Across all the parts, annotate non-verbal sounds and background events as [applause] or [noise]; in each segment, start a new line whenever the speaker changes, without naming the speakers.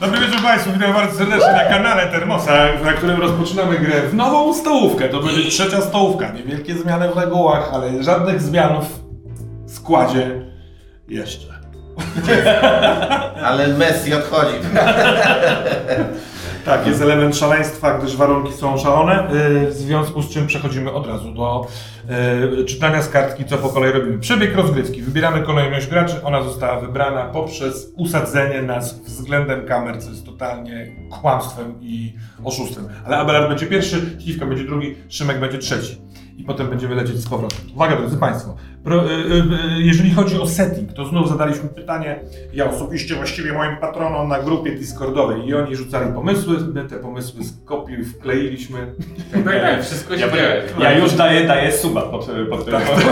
Dobry wieczór Państwu, witam bardzo serdecznie na kanale Termosa, na którym rozpoczynamy grę w nową stołówkę. To będzie trzecia stołówka. Niewielkie zmiany w regułach, ale żadnych zmian w składzie jeszcze.
Ale Messi odchodzi.
Tak, jest element szaleństwa, gdyż warunki są szalone, yy, w związku z czym przechodzimy od razu do yy, czytania z kartki, co po kolei robimy. Przebieg rozgrywki. Wybieramy kolejność graczy, ona została wybrana poprzez usadzenie nas względem kamer, co jest totalnie kłamstwem i oszustwem. Ale Abelard będzie pierwszy, Śliwka będzie drugi, Szymek będzie trzeci. I potem będziemy lecieć z powrotem. Uwaga, drodzy Państwo. Pro, yy, yy, jeżeli chodzi o setting, to znów zadaliśmy pytanie, ja osobiście właściwie moim patronom na grupie Discordowej i oni rzucali pomysły, my te pomysły skopiuj, wkleiliśmy.
[laughs] Tak, wszystko się dzieje.
Ja już daję, daję suba pod, pod
Tak,
tym.
[laughs]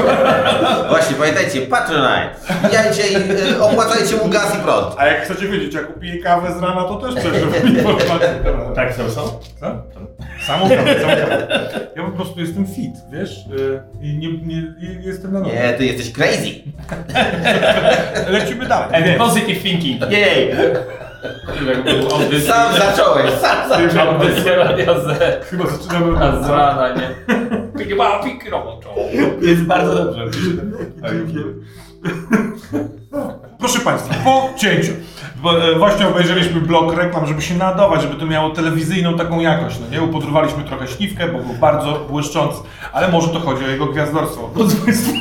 [laughs]
Właśnie, pamiętajcie, Patronite. Wbijajcie i y, opłacajcie mu gaz i prąd.
A jak chcecie wiedzieć, jak kupię kawę z rana, to też [laughs] przeżyłem informacje. Dobra.
Tak, są, są?
Co? Samą kawę, samą kawę. Ja po prostu jestem fit, wiesz? yy, I nie, nie, nie jestem na nogi.
Nie, ty jesteś crazy.
Lecimy dalej.
And positive thinking.
Jej, sam zacząłeś, sam zacząłeś.
Audycja z,
Chyba zaczynamy
z rana, nie? Chyba pikroczą.
Jest bardzo No dobrze. Tak.
Proszę Państwa, po cięciu. Bo, e, właśnie obejrzeliśmy blok reklam, żeby się nadawać, żeby to miało telewizyjną taką jakość. No nie upodrywaliśmy trochę śliwkę, bo był bardzo błyszczący, ale może to chodzi o jego gwiazdorstwo. Drodzy Państwo,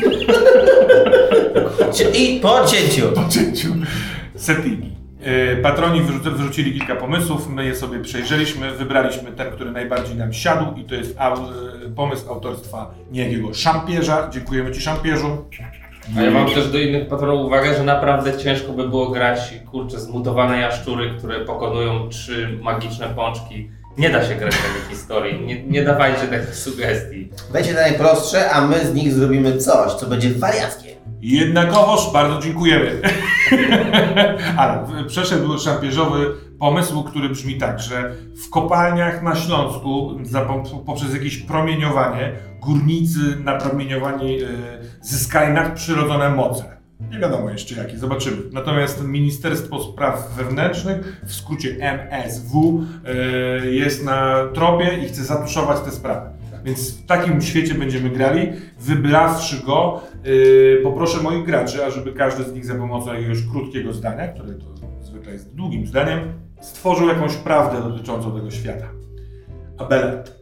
I po cięciu.
po cięciu. Settingi. E, Patroni wyrzu- wyrzucili kilka pomysłów, my je sobie przejrzeliśmy, wybraliśmy ten, który najbardziej nam siadł i to jest au- e, pomysł autorstwa niejakiego szampierza. Dziękujemy Ci szampierzu.
A ja mam też do innych patronów uwagę, że naprawdę ciężko by było grać, kurczę, zmutowane jaszczury, które pokonują trzy magiczne pączki. Nie da się grać takiej historii, nie, nie dawajcie takich sugestii.
Będzie najprostsze, a my z nich zrobimy coś, co będzie wariackie.
Jednakowoż bardzo dziękujemy. [laughs] Ale w- przeszedł szampierzowy pomysł, który brzmi tak, że w kopalniach na Śląsku za, po- poprzez jakieś promieniowanie górnicy napromieniowani y, zyskali nadprzyrodzone moce. Nie wiadomo jeszcze jakie, zobaczymy. Natomiast Ministerstwo Spraw Wewnętrznych, w skrócie MSW, y, jest na tropie i chce zatuszować te sprawy. Więc w takim świecie będziemy grali. Wybrawszy go, yy, poproszę moich graczy, ażeby każdy z nich za pomocą jakiegoś krótkiego zdania, które to zwykle jest długim zdaniem, stworzył jakąś prawdę dotyczącą tego świata. Abelet,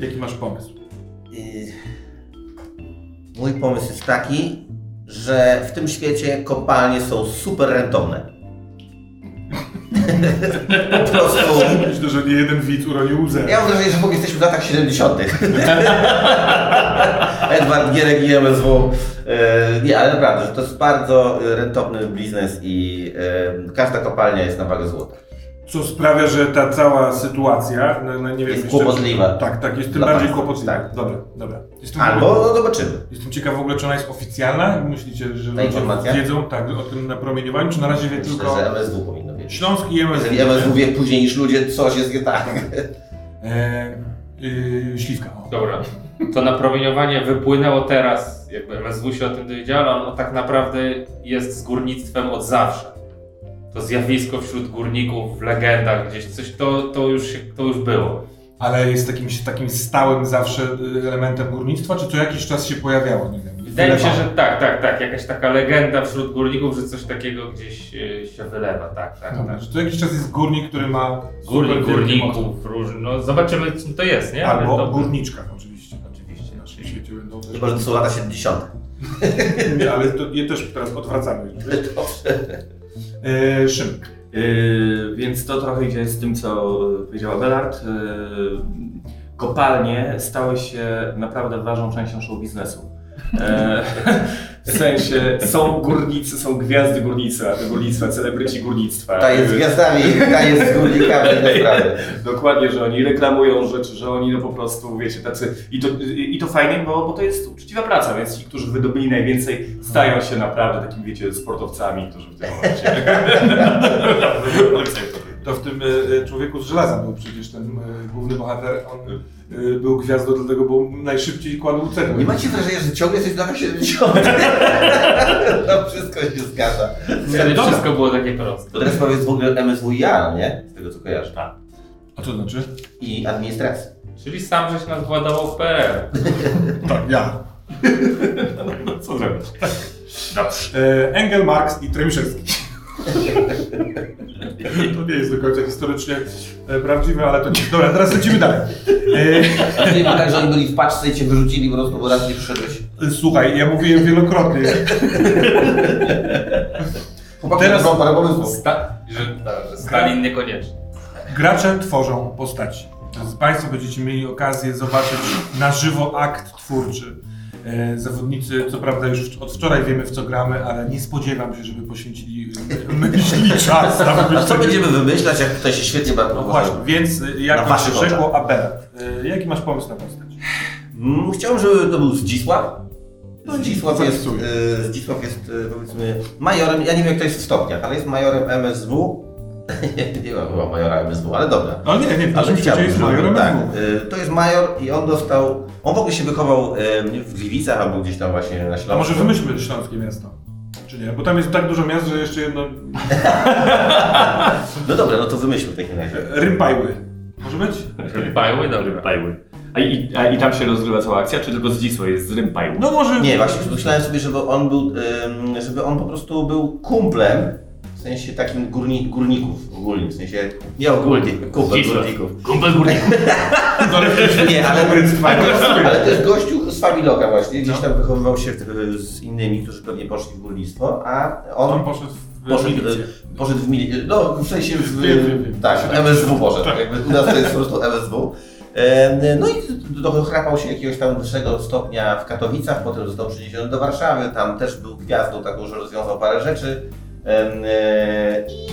jaki masz pomysł?
Y, Mój pomysł jest taki, że w tym świecie kopalnie są super rentowne. [laughs] po prostu.
Myślę, że nie jeden widz uronił łzę.
Ja mam wrażenie, że w ogóle jesteśmy w latach 70. [laughs] Edward Gierek i MSW. E, Nie, ale naprawdę, że to jest bardzo e, rentowny biznes i e, każda kopalnia jest na wagę złota.
Co sprawia, że ta cała sytuacja, no, no nie wiem...
Jest
jeszcze-
kłopotliwa.
Tak, tak, jest tym
Dla
bardziej
państwa,
kłopotliwa.
tak.
Dobra, dobra. Jestem
Albo zobaczymy.
Jestem ciekaw w ogóle, czy ona jest oficjalna? Myślicie, że
Ta informacja?
wiedzą tak, o tym napromieniowaniu, czy na razie wie
Myślę,
tylko No,
że MSW powinno wiedzieć.
Śląski i MSW?
Jeżeli MSW wie później niż ludzie, coś jest nie
[laughs]
tak.
E, y, śliwka. O.
Dobra, to napromieniowanie wypłynęło teraz, jakby MSW się o tym dowiedziało, ale ono tak naprawdę jest z górnictwem od zawsze. To zjawisko wśród górników w legendach gdzieś, coś to, to, już, się- to już było.
Ale jest takim, takim stałym zawsze y, elementem górnictwa, czy co jakiś czas się pojawiało? Nie wiem,
Wydaje mi się,
wylewało?
że tak, tak, tak. Jakaś taka legenda wśród górników, że coś takiego gdzieś e, się wylewa, tak, tak.
Dobra,
tak.
że to jakiś czas jest górnik, który ma
Górnik,
No. super wielkie moce.
górników, różnych. No zobaczymy, czym to jest, nie? Ale
Albo
to-
górniczka oczywiście.
Oczywiście.
W naszym świecie będą też...
Chyba, że to są lata 70.
Nie, ale to, je też teraz odwracamy.
[laughs] Dobrze.
E, Szymek.
Yy, więc to trochę idzie z tym, co yy, powiedział Abelard. Yy, kopalnie stały się naprawdę ważną częścią show biznesu. E, [laughs] w sensie są górnicy, są gwiazdy górnictwa, górnictwa celebryci
Tak,
górnictwa.
Ta jest z
Yy,
gwiazdami, ta jest z górnikami, naprawdę.
Dokładnie, że oni reklamują rzeczy, że oni no po prostu, wiecie, tacy... I to, i to fajnie, bo, bo to jest uczciwa praca, więc ci, którzy wydobyli najwięcej, stają się naprawdę takimi, wiecie, sportowcami, którzy w tym momencie...
to w tym e, Człowieku z Żelaza był przecież ten e, główny bohater. On e, był gwiazdą, dlatego był najszybciej kładł cegły.
Nie macie wrażenia, że ciągle jesteś w latach [laughs] 70. No wszystko się zgadza.
Wtedy
Dobra.
wszystko było takie proste.
To teraz powiedz w ogóle MSWiA, nie? Z tego co kojarzę.
A co to znaczy?
I administracji.
Czyli sam żeś nas władował w PRL.
Tak,
[laughs]
ja.
No,
co zrobić? Dobrze. E, Engel, Marx i Tremiszewski. [laughs] To nie jest do końca historycznie e, prawdziwe, ale to nie. Dobra, teraz lecimy dalej. E,
A to nie było tak, że oni byli w paczce i cię wyrzucili po prostu, bo raz nie przyszedłeś.
Słuchaj, ja mówiłem wielokrotnie.
Chłopaki,
Teraz-
mam parę pomysłów.
Sta- że, tak, że Stalin niekoniecznie.
Gracze tworzą postaci. Drodzy Państwo, będziecie mieli okazję zobaczyć na żywo akt twórczy. E, Zawodnicy, co prawda już od wczoraj wiemy w co gramy, ale nie spodziewam się, żeby poświęcili e, myśli
[laughs]
czas na
A co
wymyślenie.
będziemy wymyślać, jak tutaj się świetnie bawią?
No właśnie, więc y,
Na
jak to się
waszych
rzekło Abelard, y, jaki masz pomysł na postać?
Mm, Chciałbym, żeby to był Zdzisław. No Zdzisław jest,
zapisuje.
y, Zdzisław jest y, powiedzmy majorem, ja nie wiem jak to jest w stopniach, ale jest majorem MSW. [laughs] nie ma chyba majora MSW, ale dobra.
No nie, nie,
Ale
ale
chciałbym,
chciałeś z
żeby,
majorem
tak,
MW.
y, to jest major i on dostał, on w ogóle się wychował y, w Gliwicach albo gdzieś tam właśnie na Śląsku.
A może wymyślmy śląskie miasto? Czy nie? Bo tam jest tak dużo miast, że jeszcze jedno...
[laughs] No dobra, no to wymyślmy w takim razie.
Rympajły. Może być?
Bajły, dobra.
Rympajły. A i, a i tam się rozgrywa cała akcja, czy tylko Zdzisław jest z Rympajły?
No może...
Nie, właśnie myślałem sobie, żeby on był, ym, żeby on po prostu był kumplem, w sensie takim górni, górników ogólnie, w sensie, nie ogólnie, kumpel
Zdzisław.
górników.
Kumpel górników.
Nie, ale, ale, ale to jest gościu z Familoka właśnie, gdzieś
No.
tam wychowywał się w, z innymi, którzy pewnie poszli w górnictwo, a
On
on
poszedł w
poszedł,
milicję.
e, poszedł w milicję, no w sensie w,
Wiem, wiem, wiem.
tak, w MSW poszedł,
Tak.
jakby u nas to jest po prostu MSW. E, No i dochrapał się jakiegoś tam wyższego stopnia w Katowicach, potem został przeniesiony do Warszawy, tam też był gwiazdą taką, że rozwiązał parę rzeczy. Em, e, I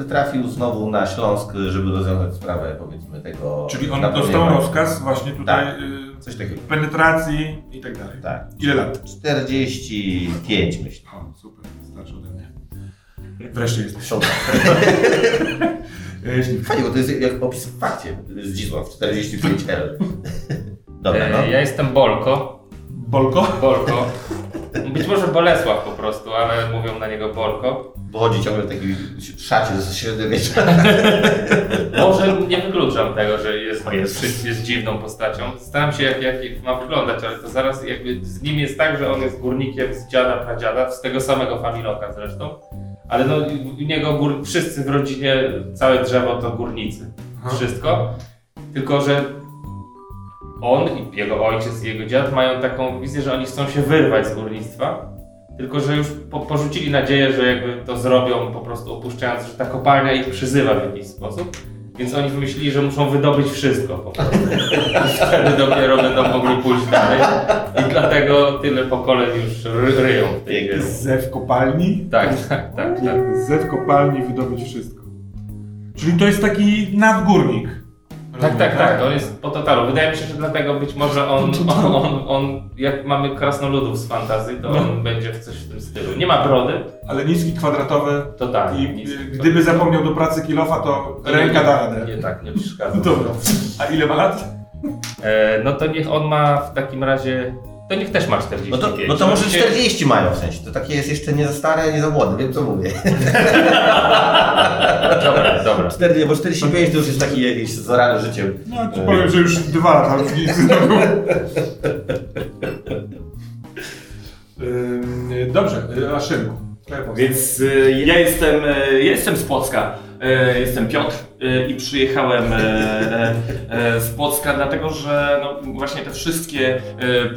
e, trafił znowu na Śląsk, żeby rozwiązać sprawę powiedzmy tego...
Czyli on
napełnienia.
dostał rozkaz właśnie tutaj y,
Coś takiego.
penetracji i tak dalej.
Tak.
Ile lat?
45 myślę.
O, super, starszy ode mnie. Wreszcie jest. Y,
Fajnie, bo to jest jak opis w fakcie. Zdzisław, 45L. [laughs] Dobra, no.
E, ja jestem Bolko.
Bolko?
Bolko. Być może Bolesław po prostu, ale mówią na niego Bolko.
Bo chodzi ciągle w takim szacie ze średniowiecza.
Może nie wykluczam tego, że jest, jest, jest dziwną postacią. Staram się jak, jak ma wyglądać, ale to zaraz jakby z nim jest tak, że on jest górnikiem z dziada, pradziada, z tego samego familoka zresztą. Ale no u niego gór, wszyscy w rodzinie, całe drzewo to górnicy.
Aha.
Wszystko. Tylko, że on i jego ojciec i jego dziad mają taką wizję, że oni chcą się wyrwać z górnictwa. Tylko, że już po, porzucili nadzieję, że jakby to zrobią, po prostu opuszczając, że ta kopalnia ich przyzywa w jakiś sposób. Więc oni wymyślili, że muszą wydobyć wszystko po prostu. I wtedy dopiero będą mogli pójść dalej. I dlatego tyle pokoleń już ry- ryją w tej
Pięknie.
wierze.
Zew kopalni?
Tak, tak, tak, tak.
Zew kopalni wydobyć wszystko. Czyli to jest taki nadgórnik.
Tak,
Rozumiem,
tak, tak. On jest po totalu. Wydaje mi się, że dlatego być może [laughs] on, on, on, on jak mamy krasnoludów z fantazji, to on będzie w coś w tym stylu. Nie ma brody,
Ale niski, kwadratowy.
totalnie.
I
Nic.
y, gdyby zapomniał do pracy kilofa, to
To nie-
ręka No da radę.
Nie, tak, nie przeszkadza.
Dobra. A ile ma lat?
E, no to niech on ma w takim razie... To niech też ma
No
45.
to, no to może
Oczywiście
40 mają w sensie. To takie jest jeszcze nie za stare, nie za młode, wiem co mówię.
Dobra,
[laughs]
Tak.
dobra.
40, bo 45 to już jest taki jakieś zorane życiem.
No to powiem, że już dwa lata różnicy znowu. Ym, Dobrze, y, a Szymku. twoja postać.
Więc y, ja jestem, y, ja jestem z Płocka. Y, jestem Piotr y, i przyjechałem y, y, y, z Płocka, dlatego że no, właśnie te wszystkie y,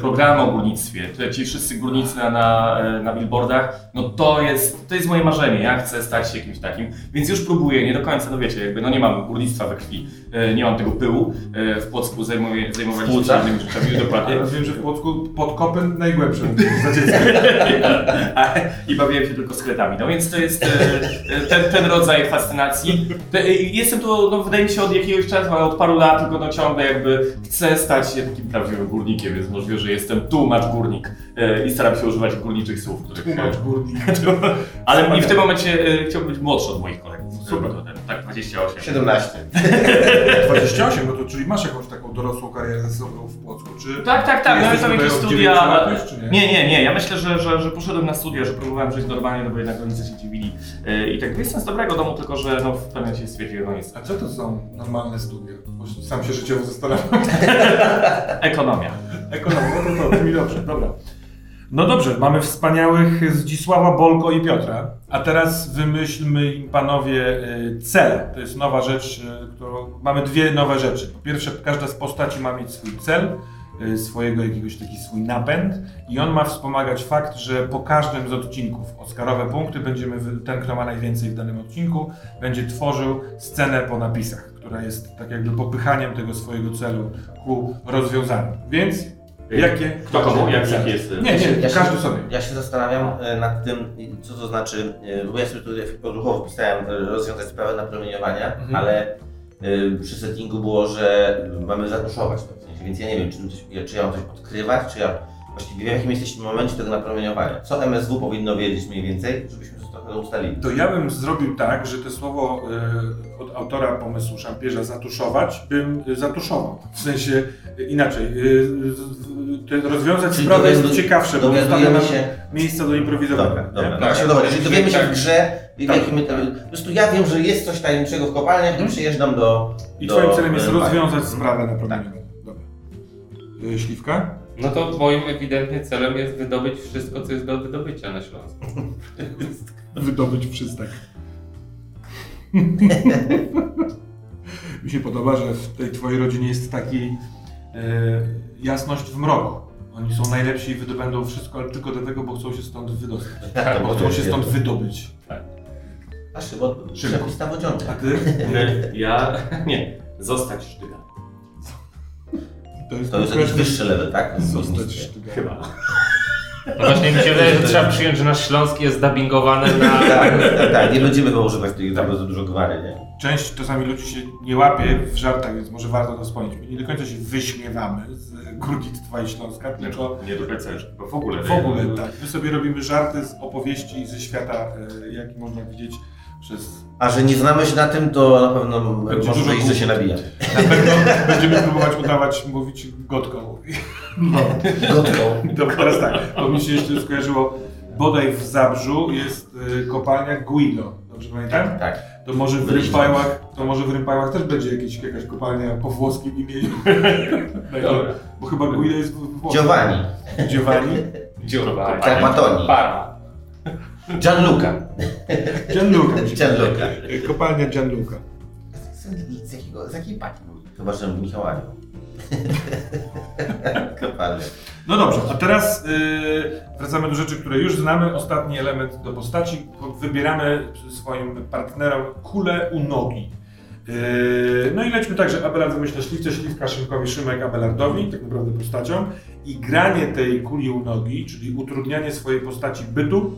programy o górnictwie, te, ci wszyscy górnicy na, na, y, na billboardach, no to jest, to jest moje marzenie. Ja chcę stać się kimś takim, więc już próbuję, nie do końca, no wiecie, jakby no nie mam górnictwa we krwi, y, nie mam tego pyłu. Y, w Płocku zajmuję, zajmowaliśmy się
Płuca?
innymi rzeczami, dokładnie.
Ja wiem, że w Płocku pod kopem najgłębsze za dziecko. [laughs]
A- I bawiłem się tylko sklepami. No więc to jest e, e, ten, ten rodzaj fascynacji. Te, e, jestem tu, no, wydaje mi się, od jakiegoś czasu, ale od paru lat, tylko no, ciągle jakby chcę stać się takim prawdziwym górnikiem, więc możliwe, że jestem tłumacz górnik e, i staram się używać górniczych słów. Których,
Tłumacz górnik.
[laughs] ale i w tym momencie e, chciałbym być młodszy od moich kolegów.
Super.
Potem, tak, 28.
17.
28, no to czyli masz jakąś taką dorosłą karierę ze sobą w Płocku, czy...
Tak, tak,
Jesteś
tak, miałem tam
tutaj
jakieś
od dziewięciu
studia.
lat już, czy nie?
Nie, nie, nie, ja myślę, że, że, że poszedłem na studia, że próbowałem żyć normalnie, no bo jednak rodzice się dziwili e, i tak, jestem z dobrego domu, tylko że no, w pewnym się stwierdziłem, no jest
A co to są normalne studia? Bo sam się życiowo zastanawiam. [laughs] Tak.
ekonomia.
Ekonomia, no to, to brzmi dobrze, dobra. No dobrze, mamy wspaniałych Zdzisława, Bolko i Piotra. A teraz wymyślmy im panowie y, cele. To jest nowa rzecz, y, którą... Mamy dwie nowe rzeczy. Po pierwsze, każda z postaci ma mieć swój cel, y, swojego jakiegoś taki swój napęd i on ma wspomagać fakt, że po każdym z odcinków Oscarowe punkty będziemy, wy- ten kto ma najwięcej w danym odcinku, będzie tworzył scenę po napisach, która jest tak jakby popychaniem tego swojego celu ku rozwiązaniu. Więc jakie?
Kto komu? Jak,
cele?
jak jest?
Nie, nie, każdy sobie.
Ja się zastanawiam e, nad tym, e, co to znaczy, e, bo ja sobie tutaj odruchowo wpisałem e, rozwiązać sprawę napromieniowania,
Mhm.
ale e, przy settingu było, że mamy zatuszować to, w sensie, więc ja nie wiem, czy, my coś, ja- czy ja mam coś odkrywać, czy ja właściwie w jakim jesteśmy momencie tego napromieniowania. Co MSW powinno wiedzieć mniej więcej, żebyśmy to trochę ustalili.
To ja bym zrobił tak, że to słowo y, od autora pomysłu Szampierza zatuszować, bym y, zatuszował. W sensie y, inaczej, y, y, y, te rozwiązać
Czyli
sprawę jest
dowiadu-
ciekawsze, bo zostawia
Dowiadujemy
nam
się,
miejsce do improwizowania.
Dobra,
nie?
dobra.
Tak.
No właśnie o to chodzi. Jeżeli dowiemy się
Tak.
w grze, w
Tak.
jakim etapie. Po prostu ja wiem, że jest coś tajemniczego w kopalniach i
Mhm.
przyjeżdżam do.
I
do,
twoim celem jest
e,
rozwiązać
bajki.
sprawę na
Tak.
promieniu. Dobra. Y, Śliwka?
No to moim ewidentnie celem jest wydobyć wszystko, co jest do wydobycia na Śląsku.
Wydobyć przystek. [laughs] Mi się podoba, że w tej twojej rodzinie jest taki e, jasność w mroku. Oni są najlepsi i wydobędą wszystko, ale tylko dlatego, bo chcą się stąd wydostać.
Tak,
Bo
bo
chcą
to
się stąd wydobyć.
A szybko,
Szybko. Tak.
przepis na wodziątek.
A ty?
Ja, nie, zostać sztyga.
To jest,
[laughs] To jest jakiś wyższy level, tak?
Zostać sztygarem.
Chyba.
No właśnie mi się wydaje, że trzeba przyjąć, że nasz Śląski jest dubbingowany
[laughs]
na...
Tak, tak, tak, nie będziemy go używać tych tak. bardzo dużo gwary, nie?
Część czasami ludzi się nie łapie w żartach, więc może warto to wspomnieć. My nie do końca się wyśmiewamy z górnictwa i Śląska, tylko
Nie do końca już, bo w ogóle.
W ogóle tak. My sobie robimy żarty z opowieści ze świata, e, jaki można widzieć przez...
A że nie znamy się na tym, to na pewno
Będzie
może
dużo
wyjść, że się
głupot.
nabija.
Na pewno będziemy próbować udawać, mówić gotką. No,
Gotką.
[laughs] to teraz tak, bo mi się jeszcze skojarzyło, bodaj w Zabrzu jest e, kopalnia Guido, dobrze pamiętam?
Tak.
To może w
W Rysztach.
Rympałach, to może w Rympałach też będzie jakieś, jakaś kopalnia po włoskim
[laughs]
imieniu.
Dobra.
Bo chyba Guido jest w Włoszech.
Giovanni.
Giovanni.
Dziurwa.
Carpatoni.
Parma.
Tak.
Gianluca.
Gianluca. mi się
[laughs] Gianluca.
E, Kopalnia Gianluca.
Z, jakiego, z jakiej pani? Chyba, że Michał [laughs] Anioł. Kopalnie.
No dobrze, a teraz y, wracamy do rzeczy, które już znamy. Ostatni element do postaci. Wybieramy swoim partnerom kulę u nogi. Y, no i lećmy także Abelard wymyśla śliwce, śliwka Szymkowi, Szymek Abelardowi, tak naprawdę postacią. I granie tej kuli u nogi, czyli utrudnianie swojej postaci bytu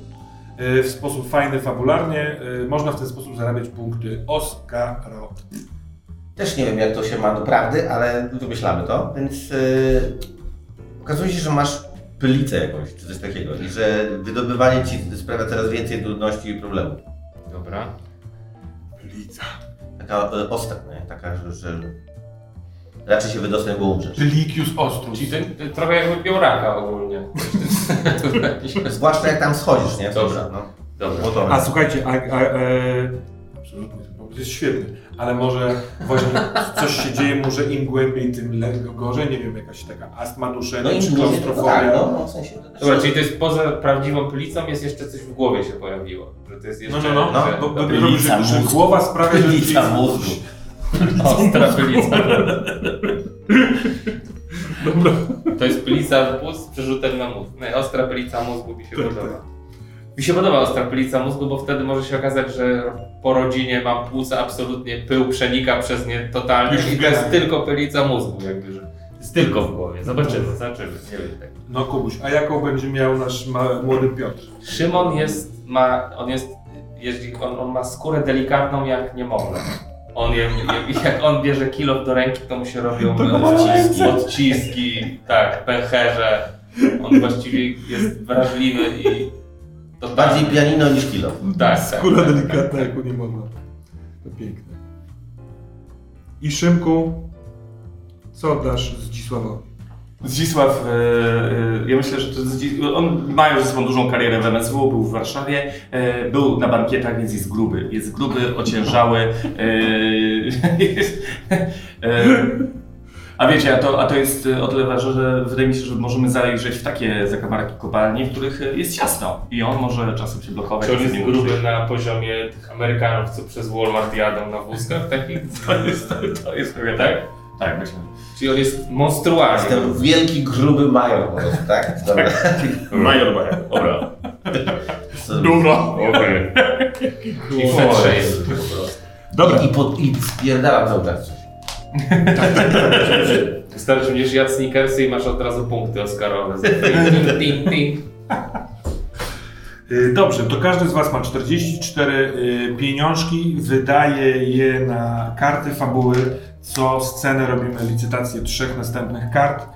y, w sposób fajny, fabularnie, y, można w ten sposób zarabiać punkty Oscaro.
Też nie wiem, jak to się ma do prawdy, ale wymyślamy to. Więc yy, okazuje się, że masz pylicę jakąś, czy coś takiego, i że wydobywanie ci sprawia coraz więcej trudności i problemów.
Dobra.
Pylica.
Taka e, ostra, nie? Taka, że, że raczej się wydostać, bo umrzesz.
Pylikius ostrus.
Czyli ten, ten, y, trochę jakby bioraka ogólnie.
Zwłaszcza jak tam schodzisz, nie?
Dobra.
No.
Dobra.
Bo to
A słuchajcie, a, a, e, absolutnie ten pomysł jest świetny, ale może właśnie coś się dzieje, może im głębiej, tym le- gorzej, nie wiem, jakaś taka astma duszenia
no i
czy
no, tak,
klaustrofobia.
no, no, w sensie to też...
Dobra, czyli to jest poza prawdziwą plicą, jest jeszcze coś w głowie się pojawiło. Że to jest
No,
jeszcze...
no, no,
No,
że-
bo, bo,
dobra.
bo, że, że głowa sprawia, że
Pylica
ci-
mózgu.
Ostra plica. To jest plica w pust z przerzutem na mózg. Nie, ostra plica mózgu mi się
Tak,
podoba. Mi się podoba ostra plica mózgu, bo wtedy może się okazać, że po rodzinie mam płuca absolutnie, pył przenika przez nie totalnie
Już
i
w
to jest
genach.
tylko pelica mózgu jakby, że jest tylko w głowie. Zobaczymy, zobaczymy. Nie wiem tak.
No Kubuś, a jaką będzie miał nasz ma, młody Piotr?
Szymon jest, ma, on jest, jeździ, on, on ma skórę delikatną jak niemowlę. On je, je, jak on bierze kilo do ręki, to mu się robią odciski, odciski, tak, pęcherze. On właściwie jest wrażliwy i to
Bardziej pianino niż kilo.
tak, tak,
Kula
tak,
delikatna,
tak,
jak u nie można. To piękne. I Szymku, co oddasz Zdzisławowi?
Zdzisław, e, e, ja myślę, że to Zdzi- on ma już swoją dużą karierę w MSW, był w Warszawie, e, był na bankietach, więc jest gruby. Jest gruby, ociężały. e, [laughs] jest- e, A wiecie, a to, a to jest e, o tyle ważne, że wydaje mi się, że możemy zajrzeć w takie zakamarki kopalni, w których e, jest ciasno i on może czasem się blokować.
Czy on
czasem
jest
nie może
gruby na poziomie tych Amerykanów, co przez Walmart jadą na wózkach takich?
To jest, to- [laughs] to jest pewien, tak? Tak, myślę.
Czyli on jest monstrualny.
Jestem wielki, gruby major po prostu, tak? Dobra.
Major Major, dobra.
Co-
Dużo.
Okej.
I fetrze jest.
Dobra,
I, pod, I spierdalam cały czas.
[laughs] Wystarczy, będziesz jadł sneakersy i masz od razu punkty oscarowe.
[laughs]
Ting, ting.
Y, Dobrze, to każdy z Was ma 44 y, pieniążki, wydaje je na karty fabuły. Co scenę robimy licytację trzech następnych kart.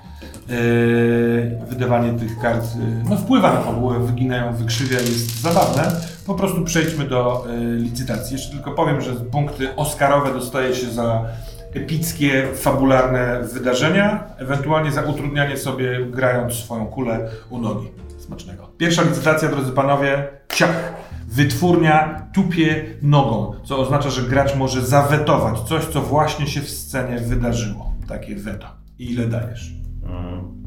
Y, Wydawanie tych kart y, no, wpływa na fabułę, wyginają, wykrzywia, jest zabawne. Po prostu przejdźmy do y, licytacji. Jeszcze tylko powiem, że punkty oscarowe dostaje się za epickie, fabularne wydarzenia, ewentualnie za utrudnianie sobie grając swoją kulę u nogi. Smacznego. Pierwsza licytacja, drodzy panowie, ciach. Wytwórnia tupie nogą, co oznacza, że gracz może zawetować coś, co właśnie się w scenie wydarzyło. Takie weto. I ile dajesz?
Mm.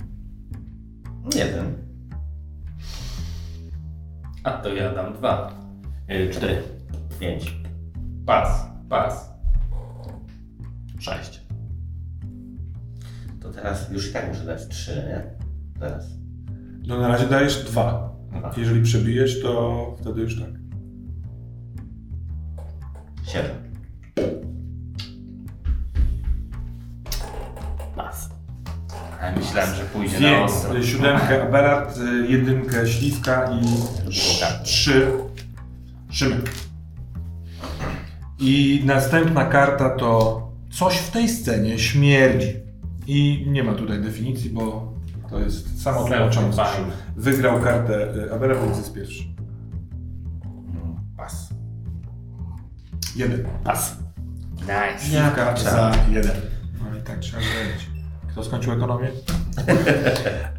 Nie wiem.
A to ja dam dwa.
E, Cztery.
Pięć.
Pas, pas.
Sześć.
To teraz już i tak muszę dać trzy, nie? Teraz.
No na razie dajesz dwa.
Dwa.
Jeżeli przebijesz, to wtedy już tak.
Siedem.
Pas.
A myślałem, że pójdzie na
Więc
ostro.
y, siódemkę Abelard, y, jedynkę Śliwka i trz- trzy Szymek. I następna karta to coś w tej scenie śmierdzi. I nie ma tutaj definicji, bo to jest samo tłumaczące.
Fajne.
Wygrał kartę y, Abelard, więc jest pierwszy.
Mm,
Pas.
Jeden.
Pas.
Nice.
Śliwka
tak.
za jeden. No i tak trzeba zrobić. Kto skończył ekonomię?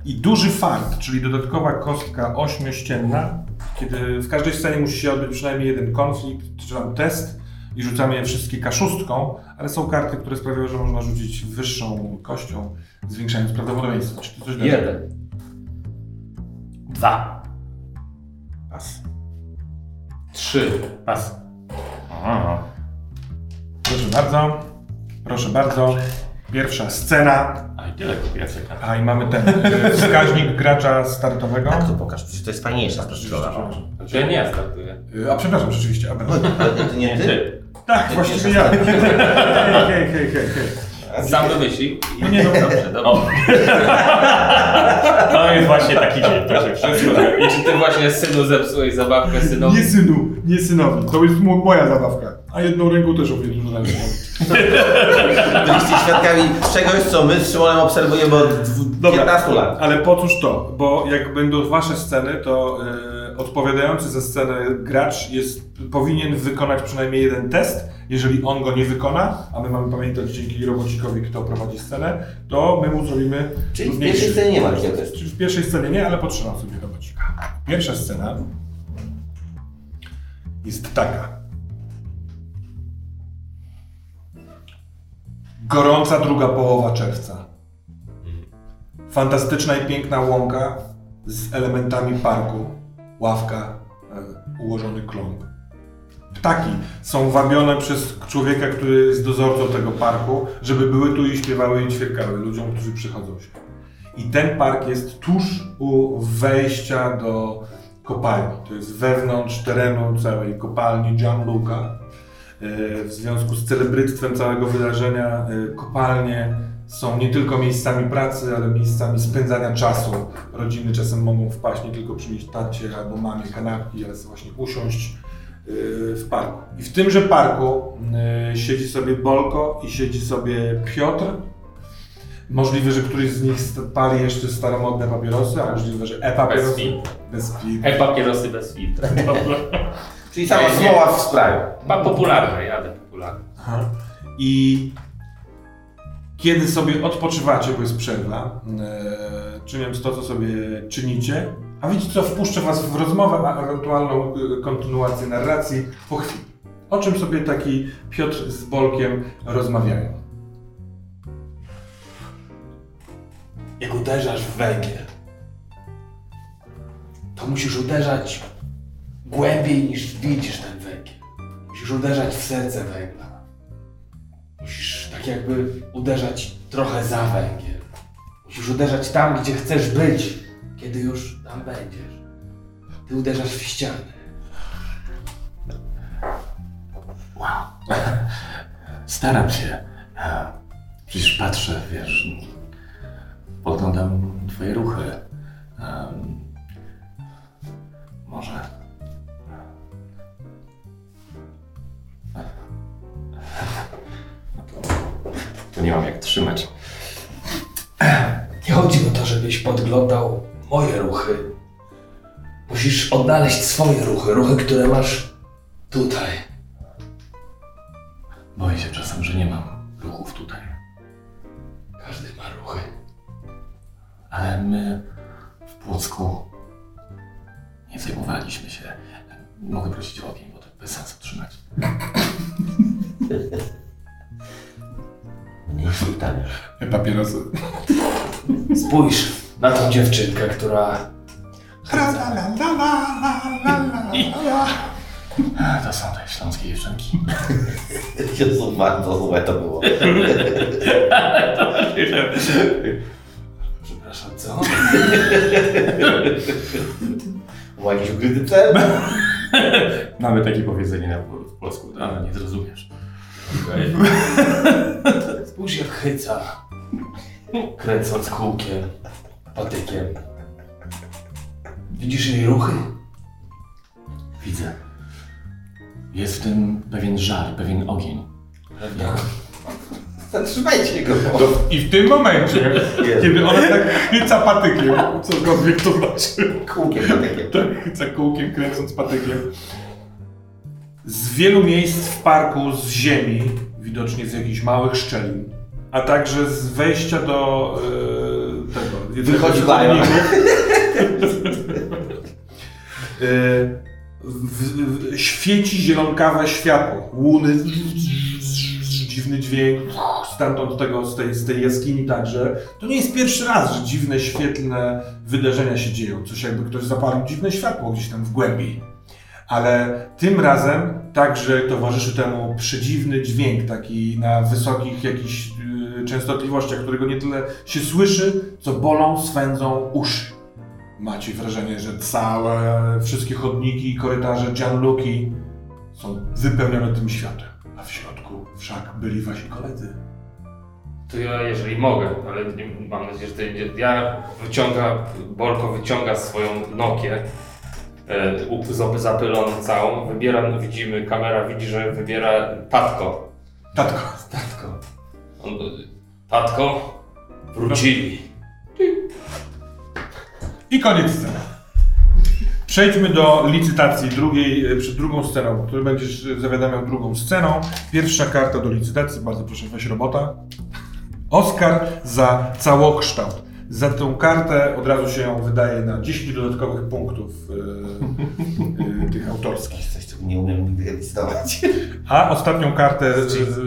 I duży fart, czyli dodatkowa kostka ośmiościenna, kiedy w każdej scenie musi się odbyć przynajmniej jeden konflikt, czy tam test i rzucamy je wszystkie kaszustką, ale są karty, które sprawiają, że można rzucić wyższą kością, zwiększając prawdopodobieństwo. Czy to coś da?
Jeden.
Dwa.
Pas.
Trzy.
Pas.
Proszę bardzo, proszę bardzo. Pierwsza scena,
A i tyle kupiłem sobie kartę.
a i mamy ten e, wskaźnik gracza startowego.
Tak to pokaż, przecież to jest fajniejsza sprawa.
Przepraszam.
Znaczy ja nie startuję.
E, A przepraszam, rzeczywiście, Abel.
No,
Ale to nie ty.
Tak,
Nie,
właściwie
nie,
ja. Hej, hej, hej, hej, hej.
Sam wymyślił.
No nie, no
Dobrze, dobrze.
O. To jest właśnie taki dzień, to się wszystko
tak-
dzieje.
I czy ty właśnie synu zepsułeś zabawkę
No.
synowi?
Nie synu, nie synowi. To jest mo- moja zabawka. A jedną ręką też umie dużo lepiej.
Byliście świadkami czegoś, co my z Szymonem obserwujemy od dwu- 15 lat.
Ale po cóż to? Bo jak będą wasze sceny, to y, odpowiadający za scenę gracz jest, powinien wykonać przynajmniej jeden test. Jeżeli on go nie wykona, a my mamy pamiętać dzięki robocikowi, kto prowadzi scenę, to my mu zrobimy
Czyli w
trudniejszy.
pierwszej scenie nie ma takiego testu.
Czyli w pierwszej scenie nie, ale potrzymam sobie robocika. Pierwsza scena jest taka. Gorąca druga połowa czerwca. Fantastyczna i piękna łąka z elementami parku, ławka, e, ułożony kląb. Ptaki są wabione przez człowieka, który jest dozorcą tego parku, żeby były tu i śpiewały i ćwierkały ludziom, którzy przychodzą się. I ten park jest tuż u wejścia do kopalni. To jest wewnątrz terenu całej kopalni Gianluca. Yy, W związku z celebryctwem całego wydarzenia yy, kopalnie są nie tylko miejscami pracy, ale miejscami spędzania czasu. Rodziny czasem mogą wpaść nie tylko przynieść tacie albo mamie kanapki, ale właśnie usiąść yy, w parku. I w tymże parku yy, siedzi sobie Bolko i siedzi sobie Piotr, Możliwe, że któryś z nich st- pali jeszcze staromodne papierosy, a możliwe, że
Bez
e-papierosy.
filtru.
Bez filtru.
E papierosy bez filtra. Dobra.
Czyli sama
Nie, nie.
zmoła w sprawie. [laughs]
Mam popularne, jadę popularne.
Aha. I kiedy sobie odpoczywacie, bo jest przerwa, e, czyniąc to, co sobie czynicie, a wiecie co, wpuszczę was w rozmowę, a ewentualną e, kontynuację narracji po chwili. O czym sobie taki Piotr z Bolkiem rozmawiają?
Jak uderzasz w węgiel, to musisz uderzać głębiej niż widzisz ten węgiel. Musisz uderzać w serce węgla. Musisz tak jakby uderzać trochę za węgiel. Musisz uderzać tam, gdzie chcesz być, kiedy już tam będziesz. Ty uderzasz w ścianę.
Staram się. E, Przecież patrzę, wiesz, podglądam twoje ruchy. Em, Może... To nie mam jak trzymać.
Nie chodzi o to, żebyś podglądał moje ruchy. Musisz odnaleźć swoje ruchy, ruchy, które masz tutaj.
Boję się czasem, że nie mam ruchów tutaj.
Każdy ma ruchy.
Ale my w Płocku nie zajmowaliśmy się. Mogę prosić o ogień, bo to bez sensu trzymać.
Mniejsze pytanie.
Papierosy.
Spójrz na tą dziewczynkę, która.
To są te śląskie dziewczynki.
Jezu, bardzo złe to było.
Przepraszam, co?
Była jakiś ukryty cel?
Mamy takie powiedzenie na po- w polsku, tak? ale nie zrozumiesz.
Spójrz jak chyca. Kręcąc kółkiem, patykiem. Widzisz jej ruchy?
Widzę. Jest w tym pewien żar, pewien ogień.
Zatrzymajcie No, go.
I w tym momencie,
Jezu.
kiedy ona tak chyca patykiem, co zgodnie to znaczy,
Kółkiem na takie.
tak chyca kółkiem, kręcąc patykiem, z wielu miejsc w parku, z ziemi, widocznie z jakichś małych szczelin, a także z wejścia do e, tego... jednego
Wychodzi
z
bajon. [laughs]
chodników, e, w, w, świeci zielonkawe światło, łuny, dziwny dźwięk, stamtąd tego, z tej, z tej jaskini także. To nie jest pierwszy raz, że dziwne, świetlne wydarzenia się dzieją. Coś jakby ktoś zapalił dziwne światło gdzieś tam w głębi. Ale tym razem także towarzyszy temu przedziwny dźwięk, taki na wysokich jakichś yy, częstotliwościach, którego nie tyle się słyszy, co bolą, swędzą uszy. Macie wrażenie, że całe, wszystkie chodniki i korytarze Gianluki są wypełnione tym światem. A w środku wszak byli wasi koledzy.
To ja, jeżeli mogę, ale nie, mam nadzieję, że to nie... Ja wyciąga, Bolko wyciąga swoją Nokię, e, up- zap- zapyloną całą, wybiera, no widzimy, kamera widzi, że wybiera tatko.
Tatko.
Tatko. On, tatko, wrócili.
I koniec sceny. Przejdźmy do licytacji drugiej, e, przed drugą sceną, który będziesz e, zawiadamiał drugą sceną. Pierwsza karta do licytacji, bardzo proszę, weź robota. Oskar za całokształt. Za tą kartę od razu się ją wydaje na 10 dodatkowych punktów e, e, tych autorskich.
Coś, czego nie umiem nigdy listować.
A ostatnią kartę e,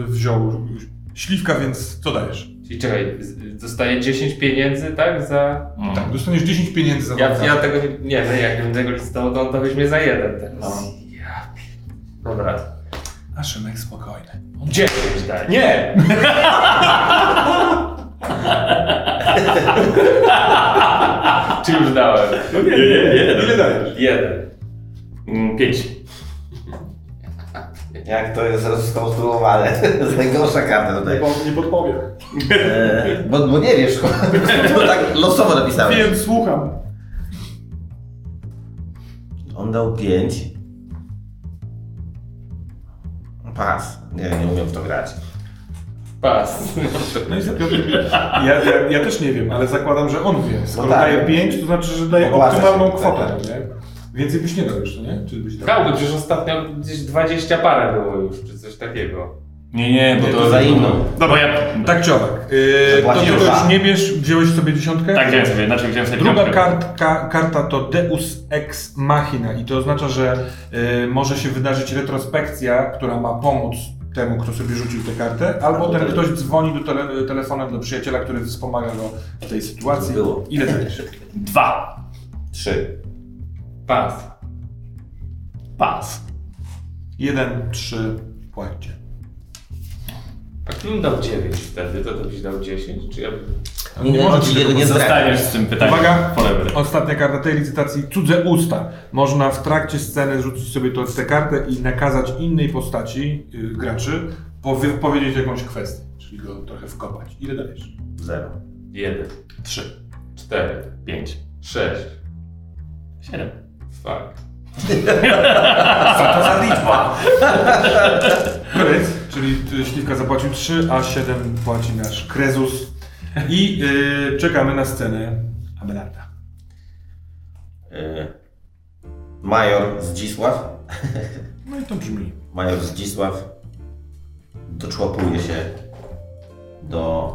wziął Śliwka, więc co dajesz?
Czyli czekaj, z- dostaję 10 pieniędzy, tak? Za...
Tak, dostaniesz 10 pieniędzy za tą
Ja,
kartę.
ja tego nie... Nie, no jak bym tego listował, to on to weźmie za jeden no. teraz. Ja... pier- Dobra.
A Szymek spokojny.
10 daj.
Nie!
Czy już dałem?
Nie, nie,
Ile dajesz?
Jeden.
Mm, Pięć.
Jak to jest skonstruowane. [laughs] To jest najgorsza karta tutaj.
nie podpowiem.
E, bo, bo nie wiesz, [laughs] bo tak losowo napisałem.
Wiem, słucham.
On dał 5. Pas. Nie, nie umiem w to grać.
Pas.
No i za ja, ja, ja też nie wiem, ale zakładam, że on wie. Skoro
No tak.
daje 5, to znaczy, że daje
Ogłaca się,
optymalną
tak.
kwotę, no nie? Więcej byś nie dał jeszcze, nie? Czy byś dał?
Dałby, przecież ostatnio gdzieś 20 parę było już, czy coś takiego.
Nie, nie, bo
Nie,
No to...
to za inną.
Bo
Dobra,
ja...
tak czy owak. Yy, to
Zapłacił
ty to
za.
już nie bierz, wziąłeś sobie dziesiątkę?
Tak, wziąłem sobie, znaczy wziąłem sobie
Druga
piątkę.
kartka, karta to Deus Ex Machina i to oznacza, że y, może się wydarzyć retrospekcja, która ma pomóc temu, kto sobie rzucił tę kartę,
Tak,
albo ten ktoś dzwoni do tele, telefonem do przyjaciela, który wspomaga go w tej sytuacji.
Było.
Ile dajesz?
Dwa.
Trzy.
Pas.
Pas.
Jeden, trzy, płacie.
A kto dał 9 wtedy, to to byś dał 10? Czy ja...
Nie, nie,
może
on
ci
ci
tego
tego nie
Tak.
zdradzi.
Zostaniesz z tym pytaniem.
Uwaga.
Forever.
Ostatnia karta tej licytacji, cudze usta. Można w trakcie sceny rzucić sobie to, tę kartę i nakazać innej postaci y, graczy powie, powiedzieć jakąś kwestię, czyli go trochę wkopać. Ile dajesz?
Zero.
1,
Trzy.
4,
Pięć.
6.
Siedem.
Fuck.
To za [laughs] liczba! Kres, czyli y, Śliwka zapłacił 3, a 7 płaci nasz Krezus. I y, czekamy na scenę Abelarda.
Y, Major Zdzisław.
No i to brzmi.
Major Zdzisław doczłapuje się do.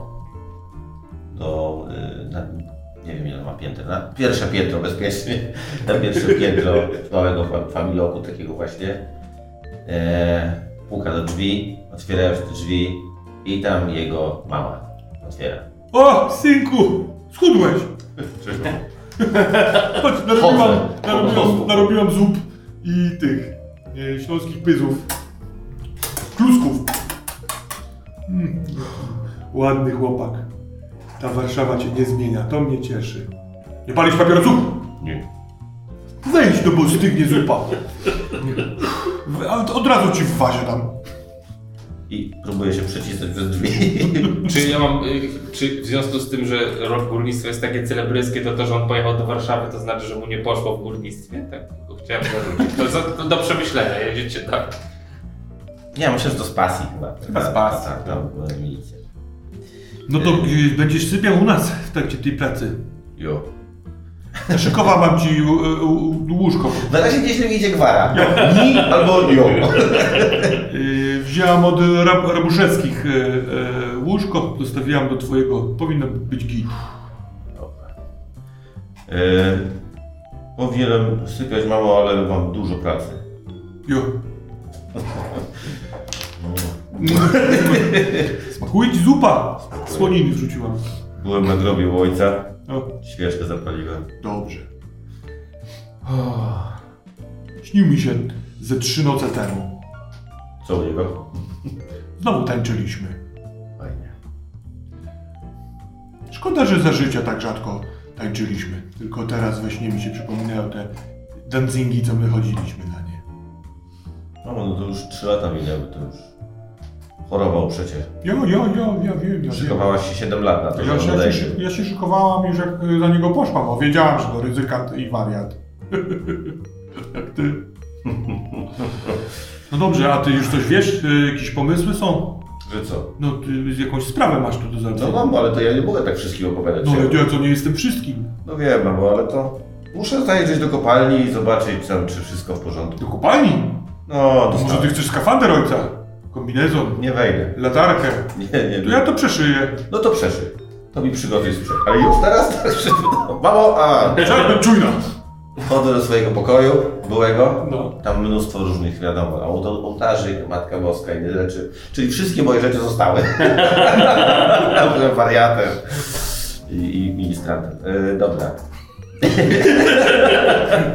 do. y, na, nie wiem ile on ma piętro. Na pierwsze piętro bezpiecznie. Na pierwsze [laughs] piętro małego fa- familoku takiego właśnie. E, puka do drzwi, otwierają się drzwi i tam jego mama otwiera.
O, synku! Schudłeś! [laughs]
Czego?
Chodź, narobiłam,
Chodzę, po
narobiłam,
prostu.
narobiłam zup i tych e, śląskich pyzów. Klusków. Mm. Ładny chłopak. Ta Warszawa cię nie zmienia, to mnie cieszy. Nie palisz papierosów?
Nie.
Wejdź, no bo stygnie zupa. W- a to Od razu ci w wazie dam.
I próbuje się przecisnąć przez drzwi.
Czy ja mam, y, czy w związku z tym, że rok górnictwa jest takie celebryckie, to to, że on pojechał do Warszawy, to znaczy, że mu nie poszło w górnictwie? Tak, to chciałem zarzucić. To, za- to do przemyślenia, jedziecie tak.
Nie, myślę, że to z pasji chyba. Chyba
z pasji.
Tak, tam była milicja.
No to e, będziesz sypiał u nas w trakcie tej pracy.
Jo.
Tak, Szykowa mam ci e, e, łóżko.
Na razie gdzieś tam idzie gwara. Ni albo
[laughs]
jo.
Yy, Wzięłam od rab Rabuszeckich yy, yy, łóżko, dostawiłam do twojego. Powinno być git.
Dobra. E, powinienem sypiać mało, ale mam dużo pracy.
Jo. Smakuje ci zupa! Słoniny wrzuciłam.
Byłem na grobie u ojca,
O,
świeczkę zapaliłem.
dobrze. Ah. Śnił mi się ze trzy noce temu.
Co u niego?
Znowu tańczyliśmy.
Fajnie.
Szkoda, że za życia tak rzadko tańczyliśmy. Tylko teraz we śnie mi się przypominają te dancingi, co my chodziliśmy na nie.
Mamo, no to już 3 lata minęły, to już chorował przecież.
Jo, jo, jo, ja wiem, ja wiem.
Szykowałaś się 7 lat na to, że
Ja
on
się, ja, się,
odejdzie.
ja się szykowałam już jak y, za niego poszłam, bo wiedziałam, że to ryzykant i wariat. jak ty. [laughs] No dobrze, a ty już coś wiesz? Y, Jakieś pomysły są?
Że co?
No ty z jakąś sprawę masz tu do
No
załatwienia.
mam, ale to ja nie mogę tak wszystkim opowiadać.
No
Ja-
ale ja co, nie jestem wszystkim.
No wiem, mamo, ale to... Muszę zajrzeć do kopalni i zobaczyć tam, czy wszystko w porządku.
Do kopalni?
No,
To może ty
dostałem.
chcesz skafander ojca? Kombinezon?
Nie wejdę.
Latarkę?
Nie, nie,
To
nie.
ja to przeszyję.
No to przeszyj. To mi przygotuj sprzęt. Ale już teraz? Teraz przed- Mamo, a
Czarny, czujna.
wchodzę do swojego pokoju, byłego.
No.
Tam mnóstwo różnych, wiadomo, auto- ołtarzy, Matka Boska i inne rzeczy. Czyli wszystkie moje rzeczy zostały. Byłem wariatem i, i ministrantem. Yy, dobra.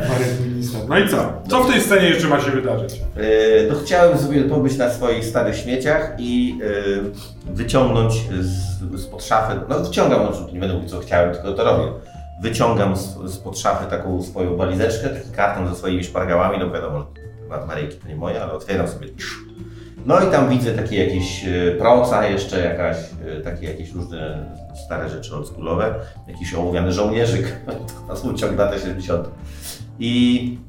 Wariat minister. No i co? Co w tej scenie jeszcze ma się wydarzyć?
Yy, no chciałem sobie pobyć na swoich starych śmieciach i yy, wyciągnąć z, spod szafy, no wyciągam, no, nie będę mówił co chciałem, tylko to robię. Wyciągam z- spod szafy taką swoją balizeczkę, taki karton ze swoimi szpargałami, no wiadomo, że Maryjki to nie moje, ale otwieram sobie. No i tam widzę takie jakieś yy, proca jeszcze, jakaś, yy, takie jakieś różne stare rzeczy oldschoolowe, jakiś ołowiany żołnierzyk, [laughs] na uciąg lata 70. I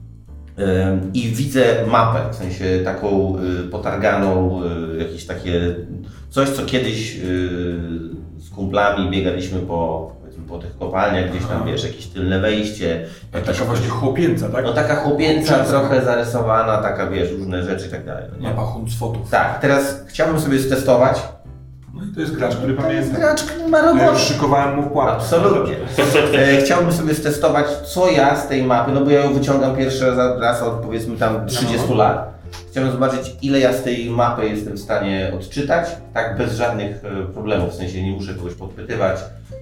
Ym, I widzę mapę, w sensie taką y, potarganą, y, jakieś takie coś, co kiedyś y, z kumplami e, biegaliśmy po powiedzmy, po tych kopalniach, gdzieś tam,
Aha.
wiesz, jakieś tylne wejście. Jakieś,
Taka właśnie chłopięca, tak?
no taka chłopięca,
Czarna. trochę
trochę zarysowana, taka, wiesz, różne rzeczy i tak dalej. no Nie?
Mapa Huntsfotów.
Tak, teraz chciałbym sobie stestować.
No i to jest gracz, który pamięta.
Graczk ma
Ja już
robotę.
szykowałem mu płatę. [laughs]
Absolutnie. E, chciałbym sobie stestować, co ja z tej mapy, no bo ja ją wyciągam pierwszy raz, raz od powiedzmy
No.
tam 30 lat. Chciałbym zobaczyć, ile ja z tej mapy jestem w stanie odczytać, tak bez żadnych e, problemów, w sensie nie muszę kogoś podpytywać,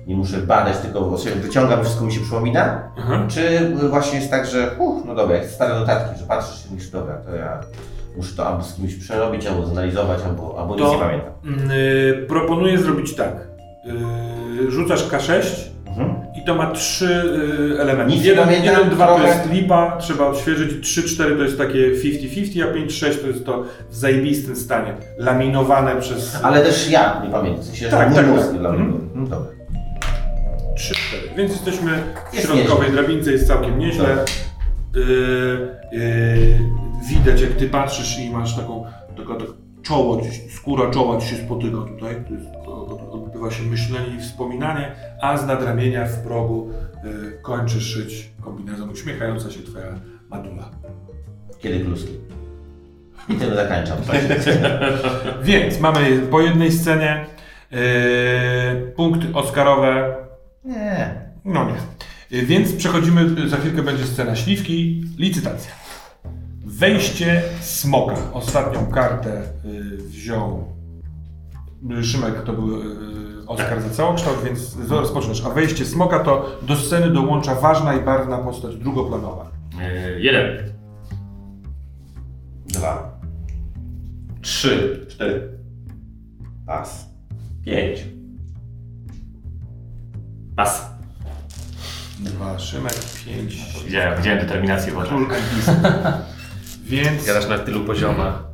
nie muszę badać, tylko sobie wyciągam, wszystko mi się przypomina.
Aha.
Czy właśnie jest tak, że uch, no dobra, jak stare notatki, że patrzysz i mówisz, dobra, to ja muszę to albo z kimś przerobić, albo zanalizować, albo, albo
To-
nic nie pamiętam.
Mm, y, proponuję zrobić tak. Y, rzucasz K6
Mhm.
i to ma trzy y, elementy.
Nic nie
jeden,
pamiętam,
jeden, dwa to
trochę.
jest lipa, trzeba odświeżyć. Trzy, cztery to jest takie 50-50, a pięć, sześć to jest to w zajebistym stanie. Laminowane przez
Ale też ja nie pamiętam, w sensie, że
Tak,
mój
tak,
mózg
tak.
nie dla mnie.
Mhm.
był. No dobra.
trzy, cztery. Więc jesteśmy w
Jest Tak.
środkowej drabince, jest całkiem nieźle. Y, y, widać jak ty patrzysz i masz taką, tylko tak czoło, gdzieś- skóra czoła ci się spotyka tutaj. To jest, o- odbywa się myślenie i wspominanie, a z nadramienia w progu y, kończy szyć kombinezon uśmiechająca się twoja madula.
Kiedy kluski? I tym zakańczam.
Więc mamy po jednej scenie y, punkty Oscarowe
Nie.
No nie. Y, Więc przechodzimy, y, za chwilkę będzie scena śliwki, licytacja. Wejście smoka. Ostatnią kartę y, wziął y, Szymek, to był y, Oskar za całokształt, więc z- rozpoczynasz. A wejście smoka to do sceny dołącza ważna i barwna postać drugoplanowa.
Yy, jeden.
Dwa.
Trzy.
Cztery. Pas.
Pięć. Pas.
Dwa, Szymek, pięć.
Widziałem, widziałem determinację w oczach.
Król Elvis. Więc
Grasz na tylu poziomach.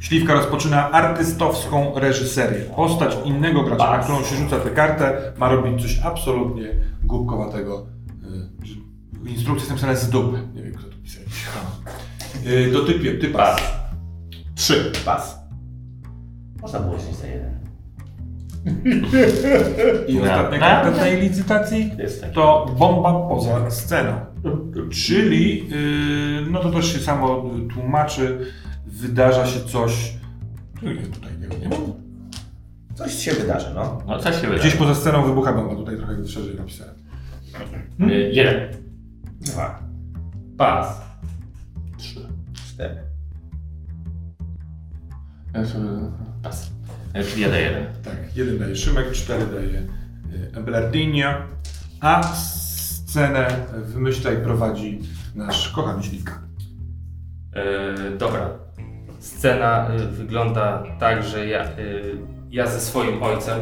Śliwka rozpoczyna artystowską reżyserię. Postać innego gracza, na którą się rzuca tę kartę, ma robić coś absolutnie głupkowatego. Y, że- W instrukcji jestem napisane z dupy. Nie wiem, kto to pisał. Y, Do typie, ty pas. Trzy.
Pas. Można było wziąć za jeden.
I
No.
ostatnia
No.
karta tej licytacji to bomba poza sceną. Czyli, y, no to też się samo tłumaczy, wydarza się coś... Tu jest tutaj, No nie wiem.
Coś się wydarzy, no.
No co się wydarzy?
Gdzieś poza sceną wybucha bomba, tutaj trochę szerzej napisałem.
Yy, jeden.
Dwa.
Pas.
Cztery.
Pas. Yy, Czyli ja daję jeden.
Tak, jeden daje Szymek, cztery daje y, Eberdinia, a scenę wymyślaj prowadzi nasz kochany Śliwka.
Yy, dobra. Scena y, wygląda tak, że ja, y, ja ze swoim ojcem,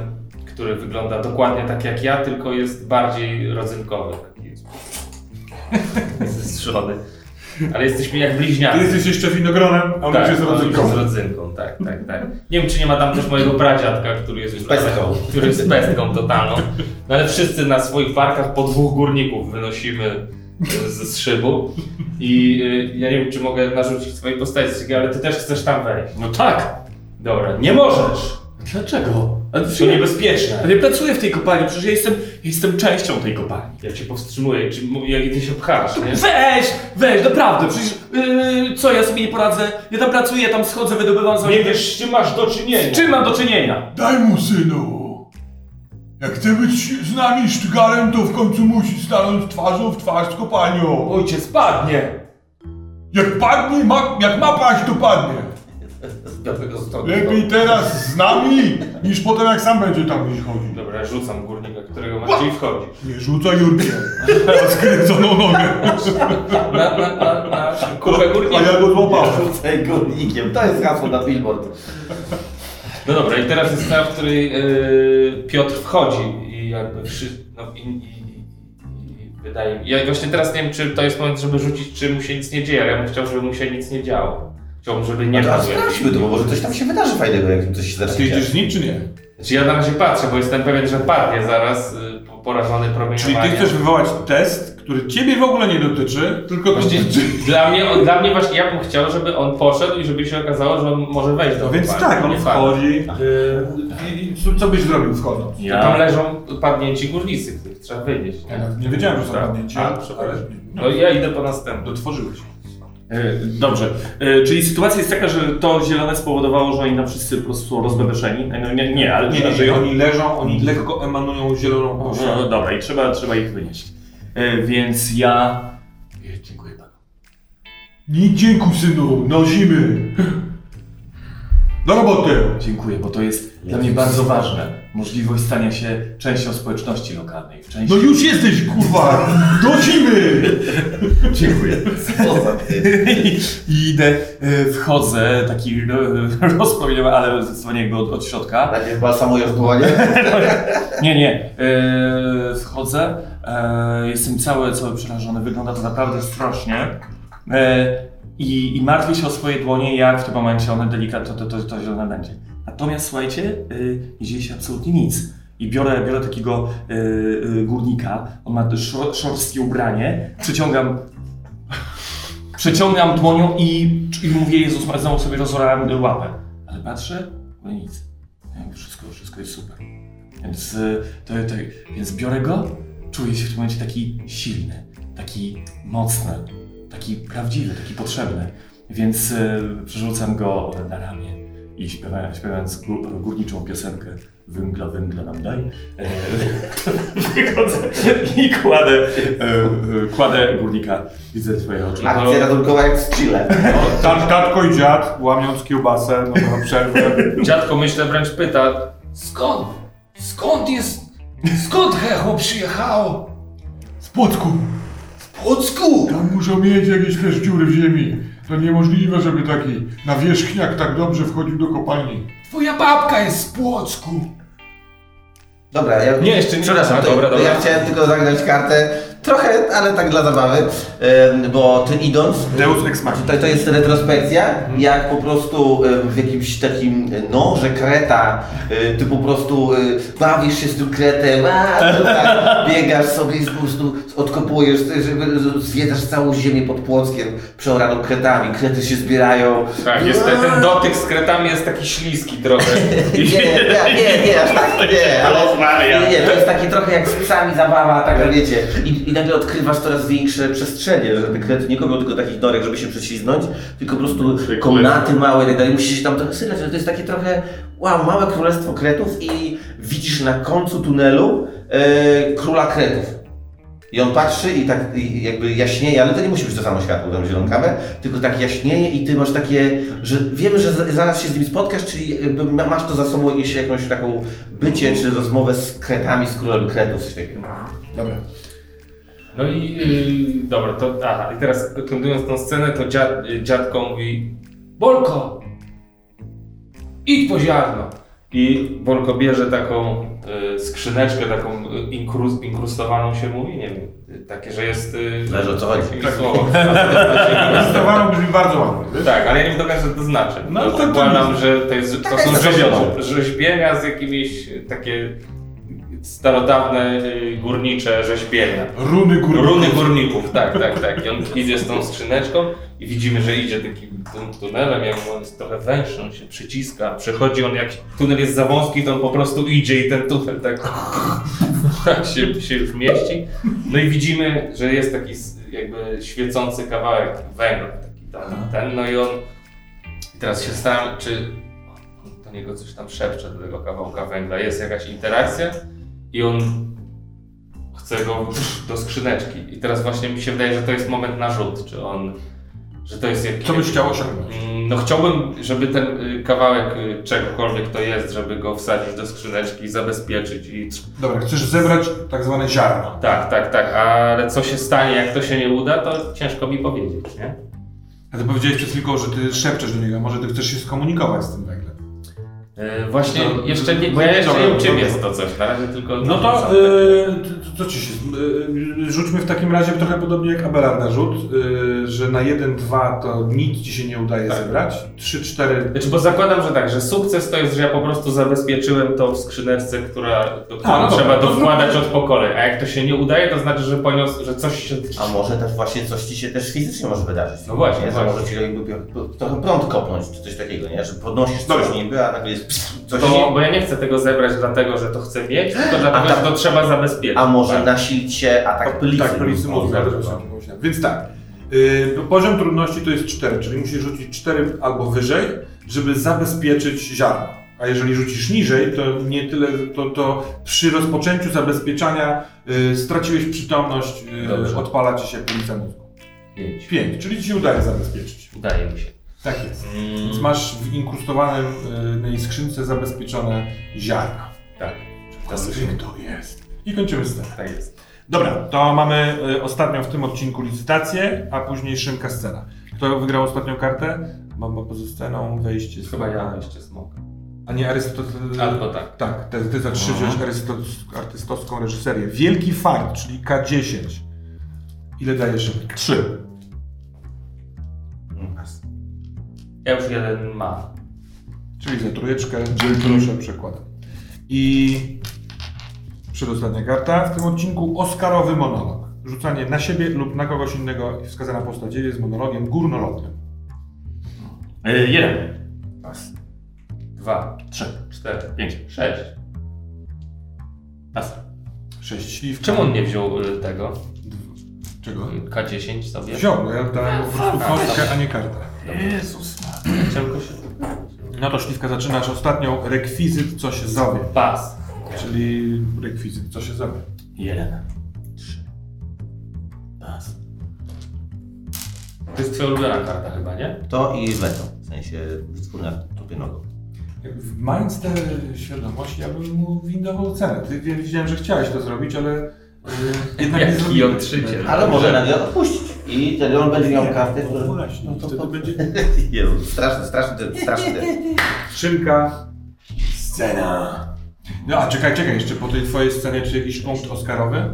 który wygląda dokładnie tak jak ja, tylko jest bardziej
[laughs]
rodzynkowy. Taki zestrzelony. Ale jesteśmy jak
Ty
bliźniacy.
jesteś jeszcze winogronem, a on już jest
on już
rodzynką.
jest Tak. rodzynką, tak, tak, tak. Nie wiem, czy nie ma tam też mojego pradziadka, który jest już
Pestką.
który jest pestką totalną. No ale wszyscy na swoich barkach po dwóch górników wynosimy e, z szybu. I e, ja nie wiem, czy mogę narzucić swojej postaci, Sergej, ale ty też chcesz tam wejść.
No tak!
Dobra, nie możesz!
Dlaczego? Ale
To
przecież
niebezpieczne.
ja nie pracuję w tej kopalni, przecież ja jestem, ja jestem częścią tej kopalni.
Ja cię powstrzymuję, czy mu- jak ty się pchasz, nie?
Weź! Weź, naprawdę, przecież yy, co, ja sobie nie poradzę? Ja tam pracuję, ja tam schodzę, wydobywam sobie...
Nie wiesz, z czym masz do czynienia.
Z czym mam do czynienia?
Daj mu synu! Jak chce być z nami sztygarem, to w końcu musi stanąć twarzą w twarz z kopalnią.
Ojciec padnie!
Jak padnie, ma, jak ma paść, to padnie.
Z białego stronę.
Lepiej teraz z nami, niż potem jak sam będzie tam gdzieś chodził.
Dobra, rzucam górnika, którego masz i wchodzisz.
Nie rzucaj Jurkiem na skręconą nogę.
Na, na, na, [laughs] na kupę
A
górnika.
ja go złapałem.
Rzucaj górnikiem. To jest hasło na billboard.
No dobra, i teraz jest scena, w której y, Piotr wchodzi i jakby wszy, no, i, i, i, i wydaje mi Ja właśnie teraz nie wiem, czy to jest moment, żeby rzucić, czy mu się nic nie dzieje, ale ja bym chciał, żeby mu się nic nie działo. Chciałbym, żeby nie
No,
padł.
sprawdźmy to, bo może coś tam się wydarzy fajnego, jak coś się
Ty
zacznie
idziesz
dziać.
z nim czy nie?
Znaczy ja na razie patrzę, bo jestem pewien, że padnie zaraz y, po, porażony
Czyli
promieniowaniem.
ty chcesz wywołać test, który ciebie w ogóle nie dotyczy, tylko
Właśnie
dotyczy...
dla, mnie, dla mnie właśnie ja bym chciał, żeby on poszedł i żeby się okazało, że on może wejść do
No więc
kopalni.
tak, on
Nie fakt.
wchodzi. y, i- i co- Co byś zrobił wchodząc?
To Tam leżą padnięci górnicy, których trzeba wynieść.
Ja
Nie?
nawet nie wiedziałem, że są
Tak.
padnięcie,
A,
ale
przepraszam.
no,
No i ja idę po następny.
dotworzyłeś.
E, Dobrze. E, Czyli sytuacja jest taka, że to zielone spowodowało, że oni tam wszyscy po prostu są rozbebeszeni. E, No, nie, nie, ale
Nie,
że
nie, nie, oni leżą, oni lekko emanują zieloną
No,
poświatą.
no, dobra, i trzeba, trzeba ich wynieść. E, Więc ja...
Dziękuję panu.
Nie dziękuj synu, nosimy. Do roboty.
Dziękuję, bo to jest dla mnie bardzo ważne. Możliwość stania się częścią społeczności lokalnej. Częścią...
No już jesteś, kurwa. Nosimy.
dziękuję.
Poza tym.
[laughs] I idę, e, wchodzę, taki [laughs] e, rozpromieniony, ale zdecydowanie jakby od, od środka.
Najpierw balsamujesz dłonie.
[laughs] Nie, nie, e, wchodzę, e, jestem cały, cały przerażony, wygląda to naprawdę strasznie. E, i, I martwię się o swoje dłonie, jak w tym momencie one delikatnie, to, to, to, to zielone będzie. Natomiast słuchajcie, y, nie dzieje się absolutnie nic. I biorę, biorę takiego y, y, górnika, on ma szor, szorstkie ubranie, przyciągam przeciągam dłonią i, i mówię, Jezus, Maria, znowu sobie rozorałem łapę. Ale patrzę, no nic. Jakby Wszystko, wszystko jest super. Więc, y, to, to, więc biorę go, czuję się w tym momencie taki silny, taki mocny, taki prawdziwy, taki potrzebny. Więc y, przerzucam go na ramię i śpiewając, śpiewając gó- górniczą piosenkę Węgla, węgla nam daj, y, [laughs] wychodzę i kładę, y, y, kładę górnika. Widzę twoje oczy.
Akcja ratunkowa jak z Chile.
Tat, tatko i dziad, łamiąc kiełbasę, no na przerwę.
Dziadko myślę wręcz pyta,
Skąd? Skąd jest? Skąd Hecho przyjechało?
Z Płocku.
W Płocku!
Tam muszą mieć jakieś też dziury w ziemi. To niemożliwe, żeby taki nawierzchniak tak dobrze wchodził do kopalni.
Twoja babka jest z Płocku!
Dobra, ja...
Nie, jeszcze nie.
Przepraszam,
A,
to,
dobra,
to
dobra.
ja chciałem tylko zagrać kartę. Trochę, ale tak dla zabawy. Em, Bo ty idąc...
Deus ex machina.
To, to jest retrospekcja, jak po prostu em, w jakimś takim e, noże kreta, e, ty po prostu e, bawisz się z tym kretem, a, tu tak,
[laughs]
biegasz sobie i po prostu odkopujesz, e, żeby zwiedzasz całą ziemię pod Płockiem przeoraną kretami, krety się zbierają.
tak, jest ten, ten dotyk z kretami jest taki śliski trochę.
Nie, nie, nie, nie, aż tak nie, ale nie, nie, to jest takie trochę jak z psami zabawa, taka wiecie. I, I nagle odkrywasz coraz większe przestrzenie, że te krety nie kopią tylko takich norek, żeby się prześlizgnąć, tylko po prostu komnaty małe i tak dalej, musisz się tam trochę sylać, że to jest takie trochę, wow, małe królestwo kretów i widzisz na końcu tunelu e, króla kretów. I on patrzy i tak i jakby jaśnieje, ale to nie musi być to samo światło, tam zielonkawe, tylko tak jaśnieje i ty masz takie, że wiemy, że za- zaraz się z nim spotkasz, czyli jakby ma- masz to za sobą jakieś, jakąś taką bycie czy rozmowę z kretami, z królem kretów, coś takiego.
Dobra.
No i yy, dobra, to aha, i teraz kontynuując tą scenę, to dziad, yy, dziadko mówi Bolko! Idź po ziarno! I Bolko bierze taką yy, skrzyneczkę, taką yy, inkrus, inkrustowaną się mówi, nie wiem, yy, takie, że jest... Yy,
Zależy, o co chodzi.
takie słowo. [laughs]
Zdecydowanie brzmi bardzo ładnie. wiesz?
Tak, ale ja nie wiem, co to znaczy.
No,
No,
to- to
Zakładam, że to, jest, to są
jest
rzeźbienia, rzeźbienia z jakimiś y, takie starodawne y, górnicze rzeźbienia.
Runy górników.
Runy górników, tak, tak, tak. I on idzie z tą skrzyneczką i widzimy, że idzie takim tym tunelem, jak on jest trochę węższy, on się przyciska, przechodzi on, jak tunel jest za wąski, to on po prostu idzie i ten tunel tak, [laughs] tak się, się już mieści. No i widzimy, że jest taki s- jakby świecący kawałek węgla, taki tam, ten, no i on i teraz się staram, czy on do niego coś tam szepcze, do tego kawałka węgla, jest jakaś interakcja i on chce go do skrzyneczki. I teraz właśnie mi się wydaje, że to jest moment na rzut, czy on, że to jest jakiś...
Co byś chciał osiągnąć?
Mm, No chciałbym, żeby ten y, kawałek y, czegokolwiek to jest, żeby go wsadzić do skrzyneczki, zabezpieczyć i...
Dobra, chcesz zebrać tak zwane ziarno.
Tak, tak, tak, ale co się stanie, jak to się nie uda, to ciężko mi powiedzieć, nie?
A ty powiedziałeś przed chwilką, że ty szepczesz do niego, a może ty chcesz się skomunikować z tym węglem.
E, Właśnie
No,
jeszcze nie, bo
no,
ja jeszcze nie
dobra,
wiem czym
dobra.
jest to coś, na razie tylko...
No to, y, to- to ci się. y, rzućmy w takim razie trochę podobnie jak Abelarda rzut, y, że na 1-2 to nic ci się nie udaje
Tak.
zebrać. 3-4.
Znaczy, bo zakładam, że tak, że sukces to jest, że ja po prostu zabezpieczyłem to w skrzyneczce, która, do której
A, no
trzeba
dobra.
dokładać od pokoleń, a jak to się nie udaje, to znaczy, że poniósł, że coś się...
A może też właśnie coś ci się też fizycznie może wydarzyć.
No właśnie,
nie? Że
właśnie.
może ci jakby pio- trochę prąd kopnąć, czy coś takiego, nie? Że podnosisz
Dobra.
coś niby, a nagle jest pst, coś...
To, bo ja nie chcę tego zebrać dlatego, że to chcę mieć, tylko dlatego,
tam-
że to trzeba zabezpieczyć.
A może nasilić się atak pylicy.
Tak, policy mózgu.
Może,
albo coś
no.
takiego myślę. Więc tak. y, poziom trudności to jest 4, czyli musisz rzucić 4 albo wyżej, żeby zabezpieczyć ziarno. A jeżeli rzucisz niżej, to nie tyle, to, to przy rozpoczęciu zabezpieczania y, straciłeś przytomność, y,
Dobrze.
odpala ci się policja mózgu.
Pięć.
5, czyli ci się udaje zabezpieczyć.
Udaje mi się.
Tak jest.
Mm,
Więc masz w inkrustowanej skrzynce zabezpieczone ziarna.
Tak.
Kurczę, to jest. I kończymy scenę.
Tak jest.
Dobra, to mamy y, ostatnią w tym odcinku licytację, a później szynka scena. Kto wygrał ostatnią kartę? Bomba poza sceną, wejście z...
Chyba ja jeszcze smok.
A nie Arystotel...
Tak. Albo Mhm. tak.
Tak, ty, ty za trzy wziąłeś arystos- artystowską reżyserię. Wielki fart, czyli K10. Ile dajesz? Trzy.
Ja już jeden mam.
Czyli za trójeczkę,
Mhm.
proszę przekładam. I przedostatnia karta w tym odcinku Oscarowy monolog. Rzucanie na siebie lub na kogoś innego i wskazana postać dzieje z monologiem górnolotnym.
Y, Jeden.
Dwa.
Trzy.
Cztery.
Pięć.
Sześć.
Pas.
Sześć śliwka.
Czemu on nie wziął y, tego
Czego?
y, K10 sobie?
Wziął, bo ja dałem po prostu kostkę, a nie kartę.
Jezus.
Chciałem go się...
No to śliwka zaczynasz ostatnią. Rekwizyt, co się zowie.
Pas.
Czyli rekwizyt, co się zowie.
Jeden. Trzy. Pas.
To jest twoja ulubiona karta chyba, nie?
To i weto, w sensie wspólna tupie nogą.
Mając tę świadomość, ja bym mu windował cenę. Ty wie- widziałem, że chciałeś to zrobić, ale y, jednak nie
Jaki
zrobiłem.
jątrzyciel.
Ale może nagle odpuścić i wtedy on będzie miał kartę,
No
która...
właśnie, wtedy będzie
Jezu, no, straszny, straszny, straszny.
Szynka.
Scena.
No a czekaj, czekaj, jeszcze po tej twojej scenie, czy jakiś punkt Oscarowy?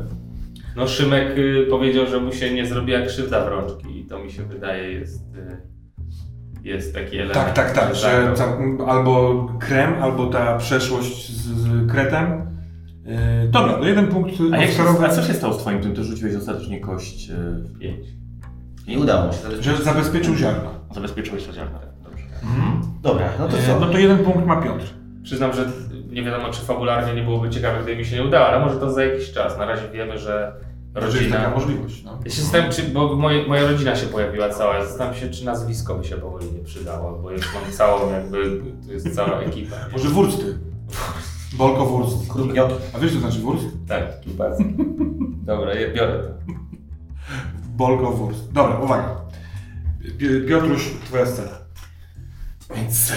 No Szymek y, powiedział, że mu się nie zrobiła krzywda w rączki i to mi się wydaje jest... Y, jest taki element.
Tak, tak, tak, że
tak.
cał- albo krem, albo ta przeszłość z, z kretem. Yy, dobra, no jeden punkt
A, jak się,
Oscarowy,
a co się stało z twoim tym? Ty rzuciłeś ostatecznie kość. y,
Pięć.
Nie udało mu się.
że zabezpieczył ziarno.
Zabezpieczyłeś to ziarno.
Tak, dobrze.
Dobra, no to
Yy,
co?
No to jeden punkt ma Piotr.
Przyznam, że nie wiadomo, czy fabularnie nie byłoby ciekawe, gdyby mi się nie udało, ale może to za jakiś czas. Na razie wiemy, że
Że jest taka
rodzina...
możliwość. No.
Ja się zastanawiam, czy, bo moje, moja rodzina się pojawiła cała, ja zastanawiam się, czy nazwisko by się powoli nie przydało, bo jest mam całą jakby, tu jest cała ekipa.
Może wursty. Bolko wurst.
Krupniok.
A wiesz co znaczy wurst?
Tak,
[laughs]
ekipa. Dobra, ja biorę to.
Bolko wurst. Dobra, uwaga. Pi- Piotruś, twoja scena.
Więc e,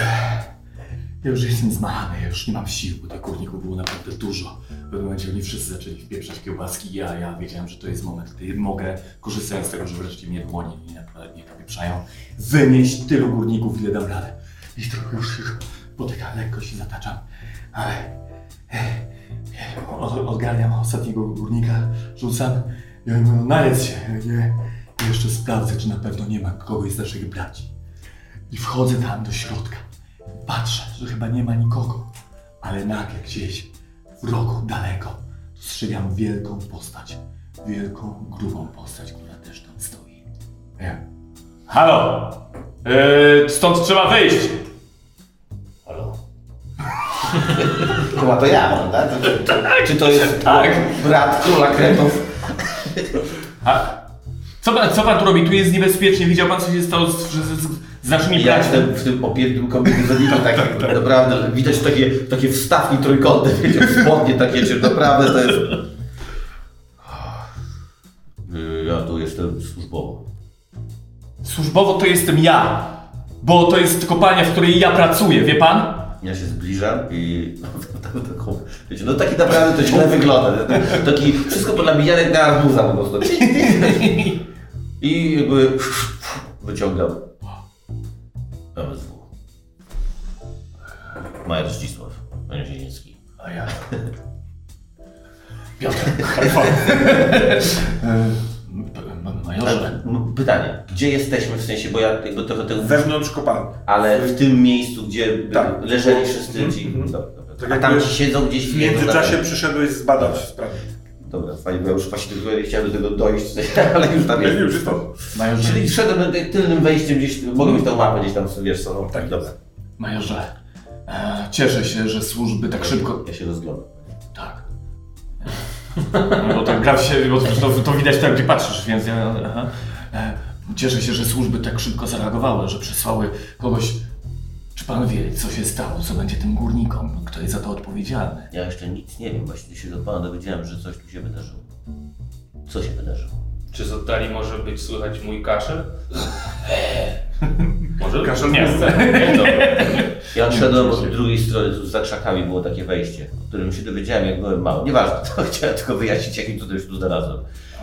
ja już jestem zmachany, ja już nie mam sił, bo tych górników było naprawdę dużo. W pewnym momencie oni wszyscy zaczęli wpieprzać kiełbaski, ja, ja wiedziałem, że to jest moment, gdy mogę, korzystając z tego, że wreszcie mnie dłonie nie, nie napieprzają, wynieść tylu górników, ile dam radę. I trochę już, już potykam, lekko się zataczam, ale e, od, odgarniam ostatniego górnika, rzucam i on mówi, najedz się, Ja nie, jeszcze sprawdzę, czy na pewno nie ma kogoś z naszych braci. I wchodzę tam do środka. Patrzę, że chyba nie ma nikogo. Ale nagle gdzieś w rogu daleko dostrzegam wielką postać. Wielką, grubą postać, która też tam stoi. A Ja.
Halo! Y, stąd trzeba wyjść!
Chyba to Tak. ja mam, tak? Czy to [laughs] jest brat króla kretów?
A, co, pan- co pan tu robi? Tu jest niebezpiecznie. Widział pan, co się stało z, z, z, z naszymi
Ja
braćmi?
jestem w tym opierdłym kobiety zabity, tak, naprawdę, widać takie, takie wstawki trójkątne, wiecie, spodnie takie, czy naprawdę to jest... Y, Ja tu jestem służbowo.
Służbowo to jestem ja. Bo to jest kopalnia, w której ja pracuję, wie pan?
Ja się zbliżam i no, tam taką, wiecie, no taki naprawdę to źle wygląda. Taki wszystko ponabijane jak na arbuza po prostu. I jakby wyciągam. MSW. Majer Zdzisław, panie Zieliński.
A ja.
[laughs]
Tak, m- Pytanie, gdzie jesteśmy w sensie, bo ja jakby trochę tego...
Wewnątrz kopalni.
Ale w tym miejscu, gdzie by
Tak.
leżeli wszyscy
Mhm,
ci...
mhm.
Dobra, dobra.
Tak
A
jakby
tam ci siedzą gdzieś...
W
nie, to
międzyczasie
tak-
przyszedłeś zbadać sprawę.
Dobra, fajnie, bo ja już właśnie tylko nie chciałem do tego dojść, [laughs] w sensie, ale już tam
Nie
jest.
wiem, czy to.
Majorze,
Czyli wszedłem na tej- tylnym wejściem gdzieś, mogę mieć tą mapę gdzieś tam, wiesz co, no, tak, dobra.
majorze, e, cieszę się, że służby tak szybko...
Ja się rozglądam.
Tak. No Bo tak gra w siebie, bo to, to widać tam, gdzie patrzysz, więc ja... Aha. E, Cieszę się, że służby tak szybko zareagowały, że przysłały kogoś... Czy pan wie, co się stało, co będzie tym górnikom, kto jest za to odpowiedzialny?
Ja jeszcze nic nie wiem, właśnie się od pana dowiedziałem, że coś tu się wydarzyło. Co się wydarzyło?
Czy z oddali może być słychać mój kaszel? [laughs] może?
Kaszel
nie.
mózgu.
nie [laughs] dobra.
Ja odszedłem od drugiej strony, tu za krzakami było takie wejście, o którym się dowiedziałem, jak byłem mały. Nieważne, [laughs] to chciałem tylko wyjaśnić, jakim cudem się tu znalazłem.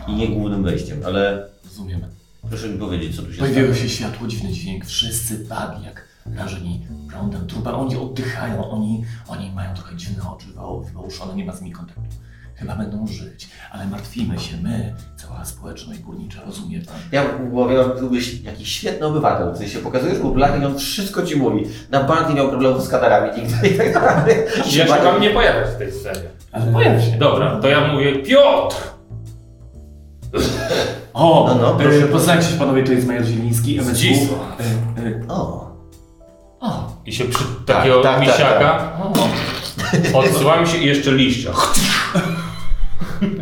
I nie głównym wejściem, ale
Rozumiem.
proszę mi powiedzieć, co tu się stało.
Pojawiło się światło, dziwny dźwięk, wszyscy padli jak rażeni prądem trupa. Oni oddychają, oni, oni mają trochę dziwne oczy wał- wyłuszone, nie ma z nimi kontaktu. Chyba będą żyć, ale martwimy się my, cała społeczność górnicza, rozumie pan?
Ja mówię, byłbyś jakiś świetny obywatel, w sensie pokazujesz mu blachę i on wszystko ci mówi. Na bank nie miał problemu z kadarami nigdy i tak dalej.
Ja się wam nie pojawiać w tej scenie.
Ale pojawi się.
Dobra, to ja mówię Piotr!
O,
No, no, proszę.
e, poznajcie się panowie, to jest Major Zieliński, MSW.
Zdzisław.
E, e,
O,
o,
I się przy takiego
tak, tak,
misiaka
o.
odsyłam się i jeszcze
[laughs]
liścia.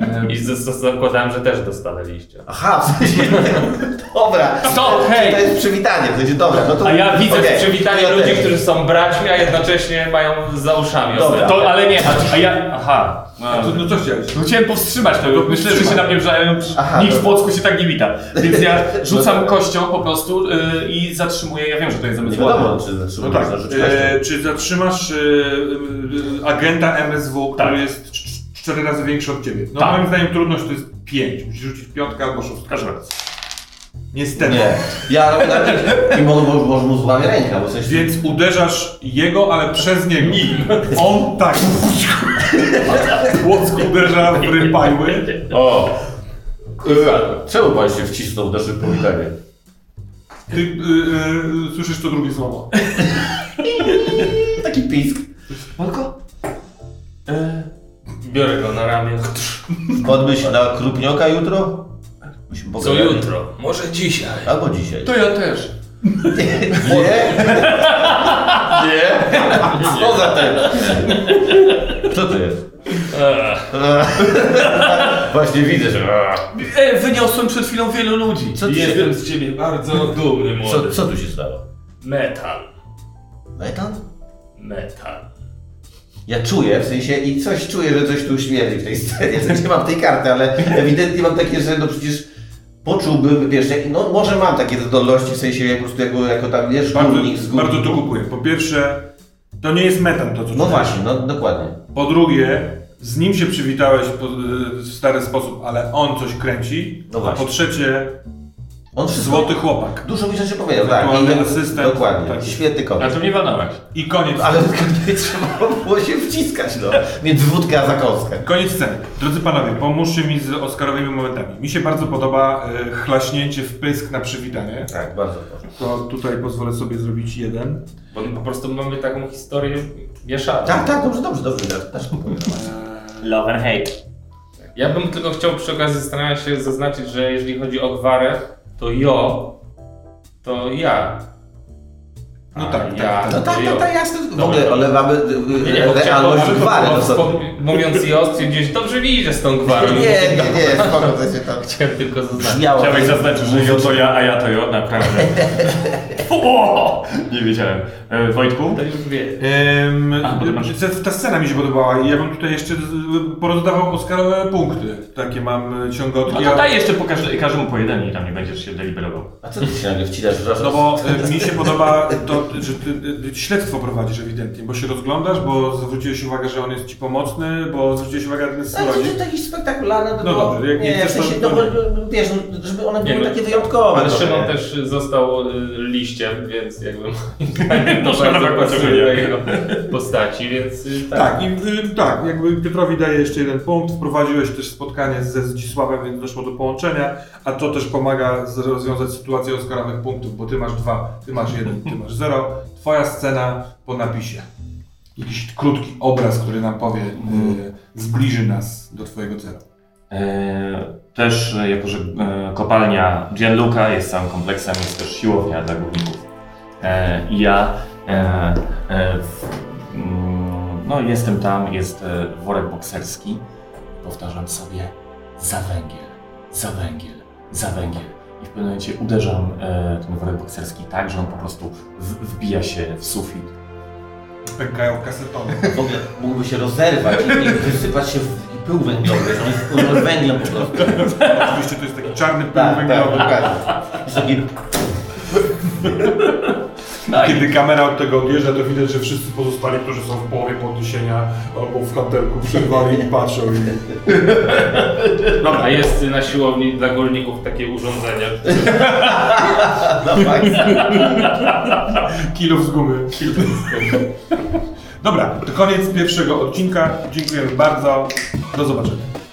E,
I z- z- zakładałem, że też dostanę liścia.
aha, w sensie, [laughs] dobra.
Stop, hej!
To jest przywitanie, w sensie, dobra, no to...
A ja widzę
okej,
przywitanie
to ja
ludzi,
też.
którzy są braćmi, a jednocześnie mają za uszami.
Dobra.
to, ale nie, a, a ja, aha.
A to- No co chciałeś?
No Chciałem powstrzymać to, bo myślę, że się na mnie wrzają,
Aha,
nikt w
dobra. No
Płocku się tak nie wita. Więc
[laughs]
ja rzucam kością po prostu y, i zatrzymuję, ja wiem, że to jest
Nie
zamysł
wiadomo, czy zatrzymać,
No tak.
no, rzeczywiście.
E, czy zatrzymasz e, e, agenta MSW, który jest cz- cz- cztery razy większy od ciebie? No
Tak.
moim zdaniem trudność to jest pięć. Musisz rzucić piątkę albo szóstkę. Każdy raz. Niestety.
Nie, ja robię tak, i może, może, może mu złamie rękę, bo coś...
Więc uderzasz jego, ale przez niego. On tak. Płocku uderza w rypajły.
O! E, Czemu pan się wcisnął w nasze powitanie?
Ty y, y, słyszysz to drugie słowo.
Taki pisk.
Biorę go na ramię.
Odmyśl na Krupnioka jutro? Musimy
Co
pogadać.
jutro? Może dzisiaj.
Albo dzisiaj.
To ja też.
[laughs] Nie? Nie? Co za ten? Co to jest? [laughs] Właśnie widzę, że...
E, wyniosłem przed chwilą wielu ludzi.
Co tu się...
Jestem z ciebie bardzo dumny,
Co,
młody.
co tu się stało?
Metal.
Metan?
Metal.
Ja czuję, w sensie i coś czuję, że coś tu śmierdzi w tej scenie. [laughs] Znaczy, nie mam tej karty, ale ewidentnie mam takie, że no przecież poczułbym, wiesz, jak, no może mam takie zdolności, w sensie jak po prostu jako, jako tam, wiesz,
Bardzo,
górnik z
bardzo to
górników.
kupuję. Po pierwsze, to nie jest metan to, co
No
czytałeś.
właśnie, no dokładnie.
Po drugie, z nim się przywitałeś po, y, w stary sposób, ale on coś kręci.
No właśnie.
A po trzecie,
On wszystko...
złoty chłopak.
Dużo mi rzeczy powiedział, tak.
Ewentualny
I-
asystent,
Dokładnie,
tak.
świetny
A
kobiet.
to mnie wiadomo.
I koniec.
Ale nie trzeba było się wciskać, no. Między wódkę a zakąskę.
Koniec sceny. Drodzy panowie, pomóżcie mi z Oscarowymi momentami. Mi się bardzo podoba y, chlaśnięcie w pysk na przywitanie.
Tak, bardzo proszę.
To tutaj pozwolę sobie zrobić jeden.
Bo po prostu mamy taką historię mieszaną.
Tak, tak, dobrze, dobrze, dobrze. Ja też mówię.
Love and hate.
Ja bym tylko chciał przy okazji zastanawiać się zaznaczyć, że jeżeli chodzi o gwarę, to jo, to ja.
No
A
tak, tak, tak.
No tak,
to
tak,
jo.
tak, jasne. W
Dobra.
ogóle, ale mamy
Nie,
y,
nie, bo chciałem-
realność
bo-
gwary.
bo-
no co-
bo- Mówiąc jo, stwierdziłeś, dobrze mi idzie z tą gwarą.
Nie, nie, nie, spoko, to się tam
[laughs] Chciałem tylko zaznaczyć.
brzmiało.
Chciałbym zaznaczyć, że ja to ja, a ja to ja, naprawdę.
[laughs]
o, nie wiedziałem. E, Wojtku?
To już wie.
Ym,
A, bo ty masz-
e, ta, ta scena mi się podobała i ja bym tutaj jeszcze z- porozdawał Oscarowe punkty. Takie mam y,
No
ciągotki.
to
a-
daj jeszcze po każde, każdemu po jeden i tam nie będziesz się deliberował.
A co ty się nagle wcinasz?
No bo y, mi e, się podoba to, że ty, y, y, śledztwo prowadzisz ewidentnie, bo się rozglądasz, bo zwróciłeś uwagę, że on jest ci pomocny, bo zwróciłeś uwagę, że ten jest
Ale to,
surowiec.
to jakieś spektakularne, to
No
było-
dobrze, jak nie
w
chcesz, to-
sensie,
to
no, bo- wiesz, no, żeby one
Nie,
były
no.
takie wyjątkowe.
Ale
trochę.
Szymon też y, został y, liściem, więc jakby moim zdaniem to
Proszę
bardzo
nawet
pasuje
podziękuję.
do jego postaci, więc y, tak.
Tak, i, y, tak, jakby Piotrowi daje jeszcze jeden punkt. Wprowadziłeś też spotkanie ze Zdzisławem, więc doszło do połączenia, a to też pomaga z- rozwiązać sytuację oskaranych punktów, bo ty masz dwa, ty masz jeden, ty masz zero. Twoja scena po napisie. Jakiś krótki obraz, który nam powie, y, zbliży nas do twojego celu.
E, Też, e, jako że e, kopalnia Gianluca jest całym kompleksem, jest też siłownia dla górników. E, I ja e, e, w, mm, no, jestem tam, jest e, worek bokserski. Powtarzam sobie za węgiel, za węgiel, za węgiel. I w pewnym momencie uderzam e, ten worek bokserski tak, że on po prostu w, wbija się w sufit.
Pękają kasetony.
W ogóle mógłby się rozerwać i wysypać się w pył węglowy, że on jest pełny węglem po prostu.
[laughs] Oczywiście to jest taki czarny pył
Tak, tak,
węglowy.
dokładnie. I sobie tak.
Kiedy kamera od tego odjeżdża, to widać, że wszyscy pozostali, którzy są w połowie podniesienia albo w hantelku przerwali i patrzą. I...
Tak,
A jest y, na siłowni dla górników takie urządzenie.
na maksa.
Kilów z gumy. Dobra, to koniec pierwszego odcinka. Dziękujemy bardzo. Do zobaczenia.